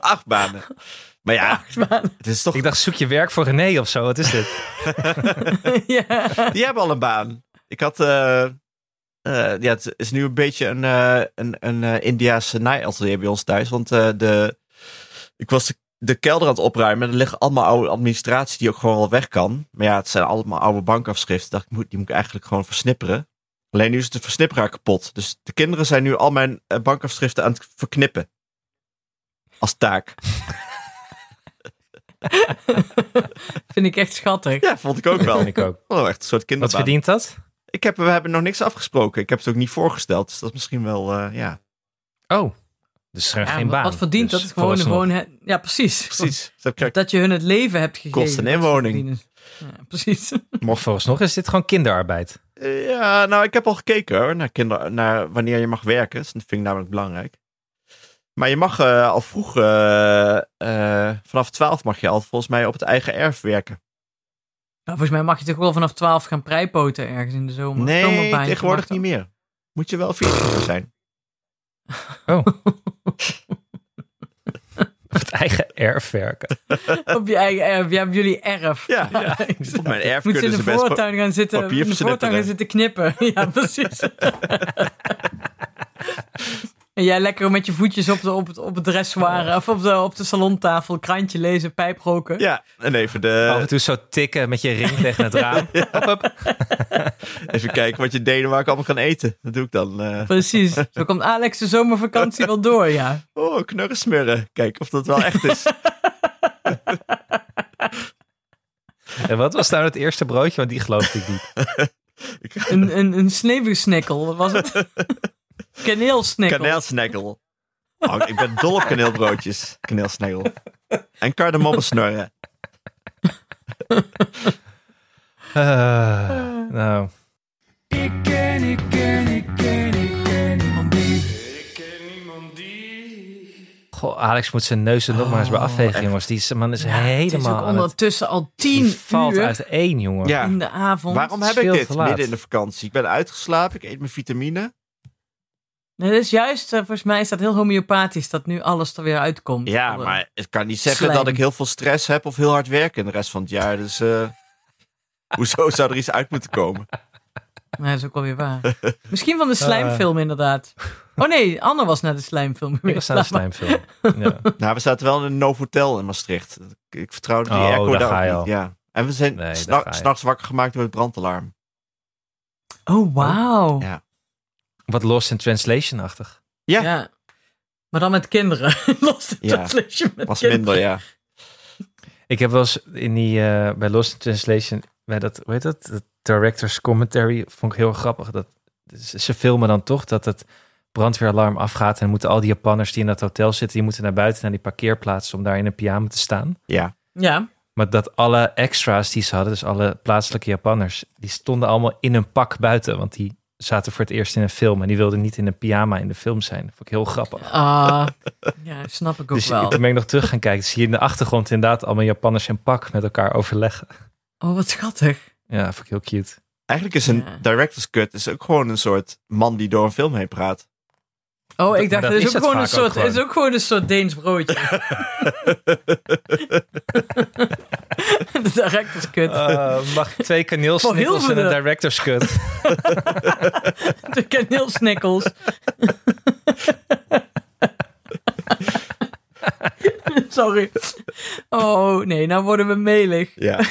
Speaker 3: Acht banen. Maar ja,
Speaker 2: Acht banen.
Speaker 3: het is toch.
Speaker 4: Ik dacht, zoek je werk voor René of zo. Wat is dit?
Speaker 2: ja.
Speaker 3: Die hebben al een baan. Ik had. eh, eh, ja, het is nu een beetje een, eh een, een eh, Indiaanse naaiatelier bij ons thuis. Want eh, de, ik was de, de kelder aan het opruimen. En er liggen allemaal oude administratie die ook gewoon al weg kan. Maar ja, het zijn allemaal oude bankafschriften. Ik Dacht, ik moet- die moet ik eigenlijk gewoon versnipperen. Alleen nu is de versnipperaar kapot. Dus de kinderen zijn nu al mijn eh, bankafschriften aan het verknippen. Als taak.
Speaker 2: Vind ik echt schattig.
Speaker 3: Ja, vond ik ook wel.
Speaker 4: Vind ik ook.
Speaker 3: Oh, echt een soort
Speaker 4: Wat
Speaker 3: kinderbaan.
Speaker 4: verdient dat?
Speaker 3: Ik heb, we hebben nog niks afgesproken. Ik heb het ook niet voorgesteld. Dus dat is misschien wel, eh, ja.
Speaker 4: Oh, dus er is
Speaker 2: Ja,
Speaker 4: geen
Speaker 2: wat-
Speaker 4: baan.
Speaker 2: Wat verdient
Speaker 4: Dus
Speaker 2: dat? Is gewoon,
Speaker 4: vooralsnog.
Speaker 2: gewoon het- ja, precies.
Speaker 3: Precies. Dat krijg ik
Speaker 2: Dat je hun het leven hebt gegeven.
Speaker 3: Kost een
Speaker 2: Dat is
Speaker 3: inwoning.
Speaker 2: verdienen. Ja, precies.
Speaker 4: Maar vooralsnog is dit gewoon kinderarbeid.
Speaker 3: Eh, Ja, nou, ik heb al gekeken hoor, naar, kinder, naar wanneer je mag werken. Dus Dat vind ik namelijk belangrijk. Maar je mag eh, al vroeg, eh, eh, vanaf 12 mag je al volgens mij op het eigen erf werken.
Speaker 2: Nou, volgens mij mag je toch wel vanaf 12 gaan prijpoten ergens in de zomer.
Speaker 3: Nee,
Speaker 2: Zomerbaantje
Speaker 3: tegenwoordig
Speaker 2: mag dat.
Speaker 3: niet meer. Moet je wel 14 zijn.
Speaker 4: Oh. Het eigen erf
Speaker 3: Eh.
Speaker 4: werken.
Speaker 2: Op je eigen erf. Ja, op jullie erf.
Speaker 3: Ja, ja.
Speaker 2: ik
Speaker 3: op mijn erf
Speaker 2: Moet ze in
Speaker 3: kunnen
Speaker 2: de
Speaker 3: ze best... pa-
Speaker 2: voortuin gaan zitten,
Speaker 3: papier
Speaker 2: in de voortuin gaan zitten knippen. Ja, precies. en jij lekker met je voetjes op, de, op, het, op het dressoir of op de, op de salontafel, krantje lezen, pijp roken.
Speaker 3: Ja, en even,
Speaker 4: Af en
Speaker 3: de,
Speaker 4: toe zo tikken met je ring tegen het raam. Hop, hop.
Speaker 3: even kijken wat je in Denemarken allemaal kan eten. Dat doe ik dan. eh.
Speaker 2: Precies. Zo komt Alex de zomervakantie wel door, ja.
Speaker 3: Oh, knurren smurren. Kijk of dat wel echt is.
Speaker 4: En wat was nou het eerste broodje? Want die geloofde ik niet.
Speaker 2: Een, een, een sneeuwsnikkel, wat was het? Kaneelsnikkel.
Speaker 3: Kaneelsnegel. Oh, ik ben dol op kaneelbroodjes. Kaneelsnegel. En kardemommesnorren.
Speaker 4: Eh, nou,
Speaker 5: Ik ken, ik ken, ik ken, ik ken niemand die. Ik ken niemand die.
Speaker 4: goh, Alex moet zijn neus er nog maar eens bij afvegen, jongens. Die is- man is
Speaker 2: Oh, Het is
Speaker 4: helemaal
Speaker 2: ook
Speaker 4: aan het-
Speaker 2: ondertussen al
Speaker 4: die
Speaker 2: tien
Speaker 4: valt
Speaker 2: uur
Speaker 4: uit één, jongen.
Speaker 3: Ja.
Speaker 2: in de avond.
Speaker 3: Waarom
Speaker 4: het
Speaker 3: heb ik
Speaker 4: scheelt
Speaker 3: dit
Speaker 4: te laat.
Speaker 3: midden in de vakantie? Ik ben uitgeslapen, ik eet mijn vitamine.
Speaker 2: Nee, dat is juist, eh, volgens mij is dat heel homeopathisch dat nu alles er weer uitkomt.
Speaker 3: Ja,
Speaker 2: Alle-
Speaker 3: maar het Oh, kan niet zeggen
Speaker 2: Slijm.
Speaker 3: dat ik heel veel stress heb of heel hard werk in de rest van het jaar. Dus eh, hoezo zou er iets uit moeten komen?
Speaker 2: Nee, dat is ook wel weer waar. Misschien van de slijmfilm, inderdaad. Oh nee, Anne was naar de slijmfilm
Speaker 4: Ik was
Speaker 2: geweest.
Speaker 4: aan een slijmfilm. Ja.
Speaker 3: Nou, we zaten wel in een Novotel in Maastricht. Ik vertrouwde die
Speaker 4: Oh,
Speaker 3: airco
Speaker 4: daar
Speaker 3: daar
Speaker 4: ga je
Speaker 3: ook
Speaker 4: al.
Speaker 3: niet. Ja. En we zijn
Speaker 4: Nee, daar
Speaker 3: s'na-
Speaker 4: ga je.
Speaker 3: s'nachts wakker gemaakt door het brandalarm.
Speaker 2: Oh, wauw.
Speaker 3: Ja.
Speaker 4: Wat Lost in Translation-achtig.
Speaker 3: Ja.
Speaker 2: Ja. Maar dan met kinderen. Lost in
Speaker 3: Ja.
Speaker 2: Translation met
Speaker 3: Was
Speaker 2: kinderen.
Speaker 3: minder, ja.
Speaker 4: Ik heb wel eens in die, eh, bij Lost in Translation, bij dat, hoe heet dat? Dat director's commentary, vond ik heel grappig. Dat, ze ze filmen dan toch dat het brandweeralarm afgaat en moeten al die Japanners die in dat hotel zitten, die moeten naar buiten naar die parkeerplaats om daar in een pyjama te staan.
Speaker 3: Ja,
Speaker 2: Ja.
Speaker 4: Maar dat alle extra's die ze hadden, dus alle plaatselijke Japanners, die stonden allemaal in een pak buiten, want die zaten voor het eerst in een film en die wilden niet in een pyjama in de film zijn. Vond ik heel grappig.
Speaker 2: Ah, ja, snap ik ook
Speaker 4: Dus
Speaker 2: wel.
Speaker 4: toen ben ik nog terug gaan kijken, zie je in de achtergrond inderdaad allemaal Japanners in pak met elkaar overleggen.
Speaker 2: Oh, wat schattig.
Speaker 4: Ja, vond ik heel cute.
Speaker 3: eigenlijk is een
Speaker 2: Ja.
Speaker 3: director's cut is ook gewoon een soort man die door een film heen praat.
Speaker 2: Oh,
Speaker 4: maar
Speaker 2: ik dacht,
Speaker 4: dat
Speaker 2: het is,
Speaker 4: is
Speaker 2: ook
Speaker 4: het
Speaker 2: gewoon een
Speaker 4: vaak ook
Speaker 2: soort,
Speaker 4: gewoon.
Speaker 2: het is ook gewoon een soort Deens broodje. de director's cut.
Speaker 4: Eh, mag ik twee
Speaker 2: Voor
Speaker 4: kaneelsnippels
Speaker 2: heel
Speaker 4: en
Speaker 2: veel
Speaker 4: een
Speaker 2: de-
Speaker 4: director's cut?
Speaker 2: De kaneelsnikkels. Sorry. Oh nee, nou worden we melig.
Speaker 3: Ja,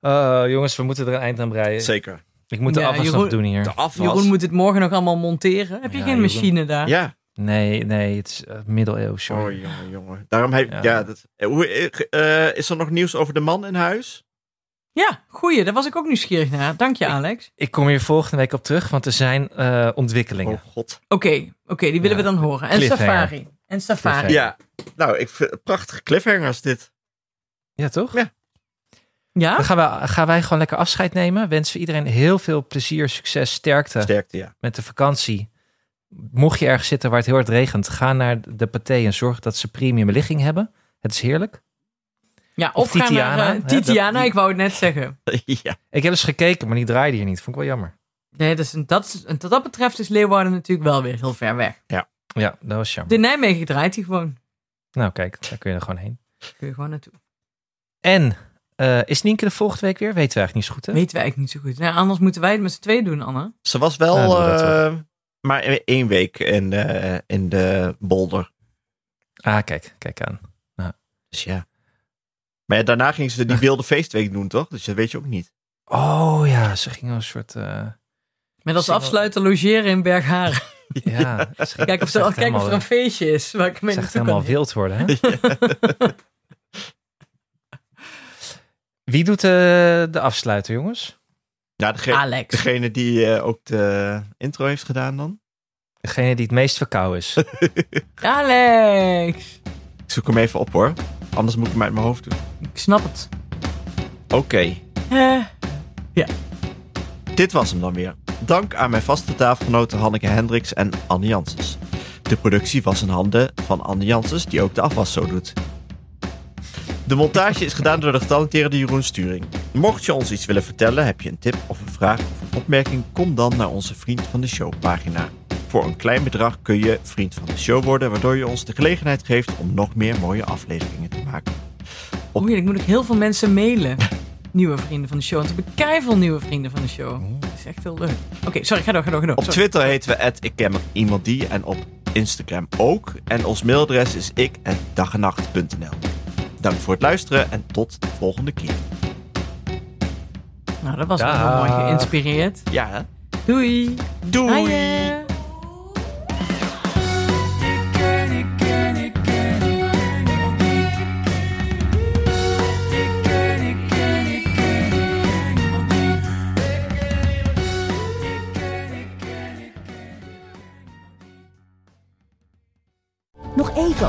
Speaker 4: Eh, jongens, we moeten er een eind aan breien.
Speaker 3: zeker.
Speaker 4: Ik moet de
Speaker 2: Ja,
Speaker 4: afwas nog
Speaker 2: Jeroen-
Speaker 4: doen hier.
Speaker 3: De afwas.
Speaker 2: Jeroen moet het morgen nog allemaal monteren. Heb je
Speaker 4: Ja,
Speaker 2: geen
Speaker 4: Jeroen.
Speaker 2: machine daar?
Speaker 3: Ja.
Speaker 4: Nee, nee, het is eh, middeleeuws.
Speaker 3: Oh,
Speaker 4: sorry.
Speaker 3: jongen, jongen. Daarom heb
Speaker 4: Ja.
Speaker 3: ja. dat, eh, hoe, eh, eh, is er nog nieuws over de man in huis?
Speaker 2: Ja, goeie. Daar was ik ook nieuwsgierig naar. Dank je, Alex.
Speaker 4: Ik kom hier volgende week op terug, want er zijn eh, ontwikkelingen.
Speaker 3: Oh, god.
Speaker 2: Oké, oké, die willen
Speaker 4: Ja,
Speaker 2: we dan horen. En
Speaker 4: cliffhanger.
Speaker 2: Safari. en Safari. Ja,
Speaker 3: Ja. Nou, ik vind prachtige cliffhangers dit.
Speaker 4: Ja, toch?
Speaker 3: Ja.
Speaker 4: Dan gaan, we, gaan wij gewoon lekker afscheid nemen. Wensen we iedereen heel veel plezier, succes, sterkte
Speaker 3: Sterkte, ja.
Speaker 4: met de vakantie. Mocht je ergens zitten waar het heel hard regent, ga naar de paté en zorg dat ze premium ligging hebben. Het is heerlijk.
Speaker 2: Ja, of,
Speaker 4: Of
Speaker 2: gaan
Speaker 4: Titiana,
Speaker 2: naar
Speaker 4: hè,
Speaker 2: eh,
Speaker 4: dat-
Speaker 2: Titiana,
Speaker 4: die-
Speaker 2: ik wou het net zeggen.
Speaker 3: ja.
Speaker 4: Ik heb eens gekeken, maar die draaide hier niet. Vond ik wel jammer.
Speaker 2: Nee, dus dat, is- en wat dat betreft is Leeuwarden natuurlijk wel weer heel ver weg.
Speaker 4: Ja, dat was jammer.
Speaker 2: De Nijmegen draait hij gewoon.
Speaker 4: Nou, kijk, daar kun je er gewoon heen.
Speaker 2: Kun je gewoon naartoe.
Speaker 4: En eh, is Nienke de volgende week weer? Weten we eigenlijk niet zo goed, hè?
Speaker 2: Weten we eigenlijk niet zo goed. Nou, anders moeten wij het met z'n tweeën doen, Anne.
Speaker 3: Ze was wel
Speaker 4: Ja, doe dat
Speaker 3: eh, maar één week in, eh, in de bolder.
Speaker 4: Ah, kijk, kijk aan.
Speaker 3: Dus ja. Maar ja, daarna ging ze die wilde feestweek doen, toch? Dus dat weet je ook niet.
Speaker 4: Oh ja, ze ging een soort. eh,
Speaker 2: Met als
Speaker 4: Zie wel.
Speaker 2: afsluiter logeren in Bergharen.
Speaker 4: ja, ze ging-
Speaker 2: Kijk of,
Speaker 4: ze
Speaker 2: er, kijk
Speaker 4: echt
Speaker 2: of er
Speaker 4: helemaal-
Speaker 2: een feestje is waar ik mee
Speaker 4: ze echt
Speaker 2: naartoe
Speaker 4: helemaal
Speaker 2: kan.
Speaker 4: wild worden. Hè? Wie doet eh, de afsluiter, jongens?
Speaker 3: Ja, degene,
Speaker 2: Alex.
Speaker 3: degene die eh, ook de intro heeft gedaan dan.
Speaker 4: Degene die het meest verkouden is.
Speaker 2: Alex!
Speaker 3: Dus Ik zoek hem even op hoor. Anders moet ik hem uit mijn hoofd doen.
Speaker 2: Ik snap het.
Speaker 3: Oké,
Speaker 2: Eh,
Speaker 3: dit was hem dan weer. Dank aan mijn vaste tafelgenoten Hanneke Hendricks en Anne Janssens. De productie was in handen van Anne Janssens, die ook de afwas zo doet. De montage is gedaan door de getalenteerde Jeroen Sturing. Mocht je ons iets willen vertellen, heb je een tip of een vraag of een opmerking, kom dan naar onze Vriend van de Show pagina. Voor een klein bedrag kun je Vriend van de Show worden, waardoor je ons de gelegenheid geeft om nog meer mooie afleveringen te maken.
Speaker 2: oei, ik Oh, moet ook heel veel mensen mailen. Nieuwe vrienden van de show. Want we hebben keiveel nieuwe vrienden van de
Speaker 4: Oh.
Speaker 2: show. Dat is echt heel leuk. Oké, sorry, ga door, ga door, ga door.
Speaker 3: Op
Speaker 2: Sorry.
Speaker 3: Twitter heten we ik ken iemand die en op Instagram ook. En ons mailadres is ik Dank voor het luisteren en tot de volgende keer.
Speaker 2: Nou, dat was wel heel mooi
Speaker 4: Dag.
Speaker 2: geïnspireerd.
Speaker 3: Ja, hè?
Speaker 2: Doei!
Speaker 3: doei!
Speaker 2: Hiya.
Speaker 5: Ik ken, ik ken, ik ken, ik ken niemand die. Ik ken, ik ken, ik ken, ik ken niemand die. Ik ken niemand die. Ik ken, ik ken, ik ken.
Speaker 1: Nog even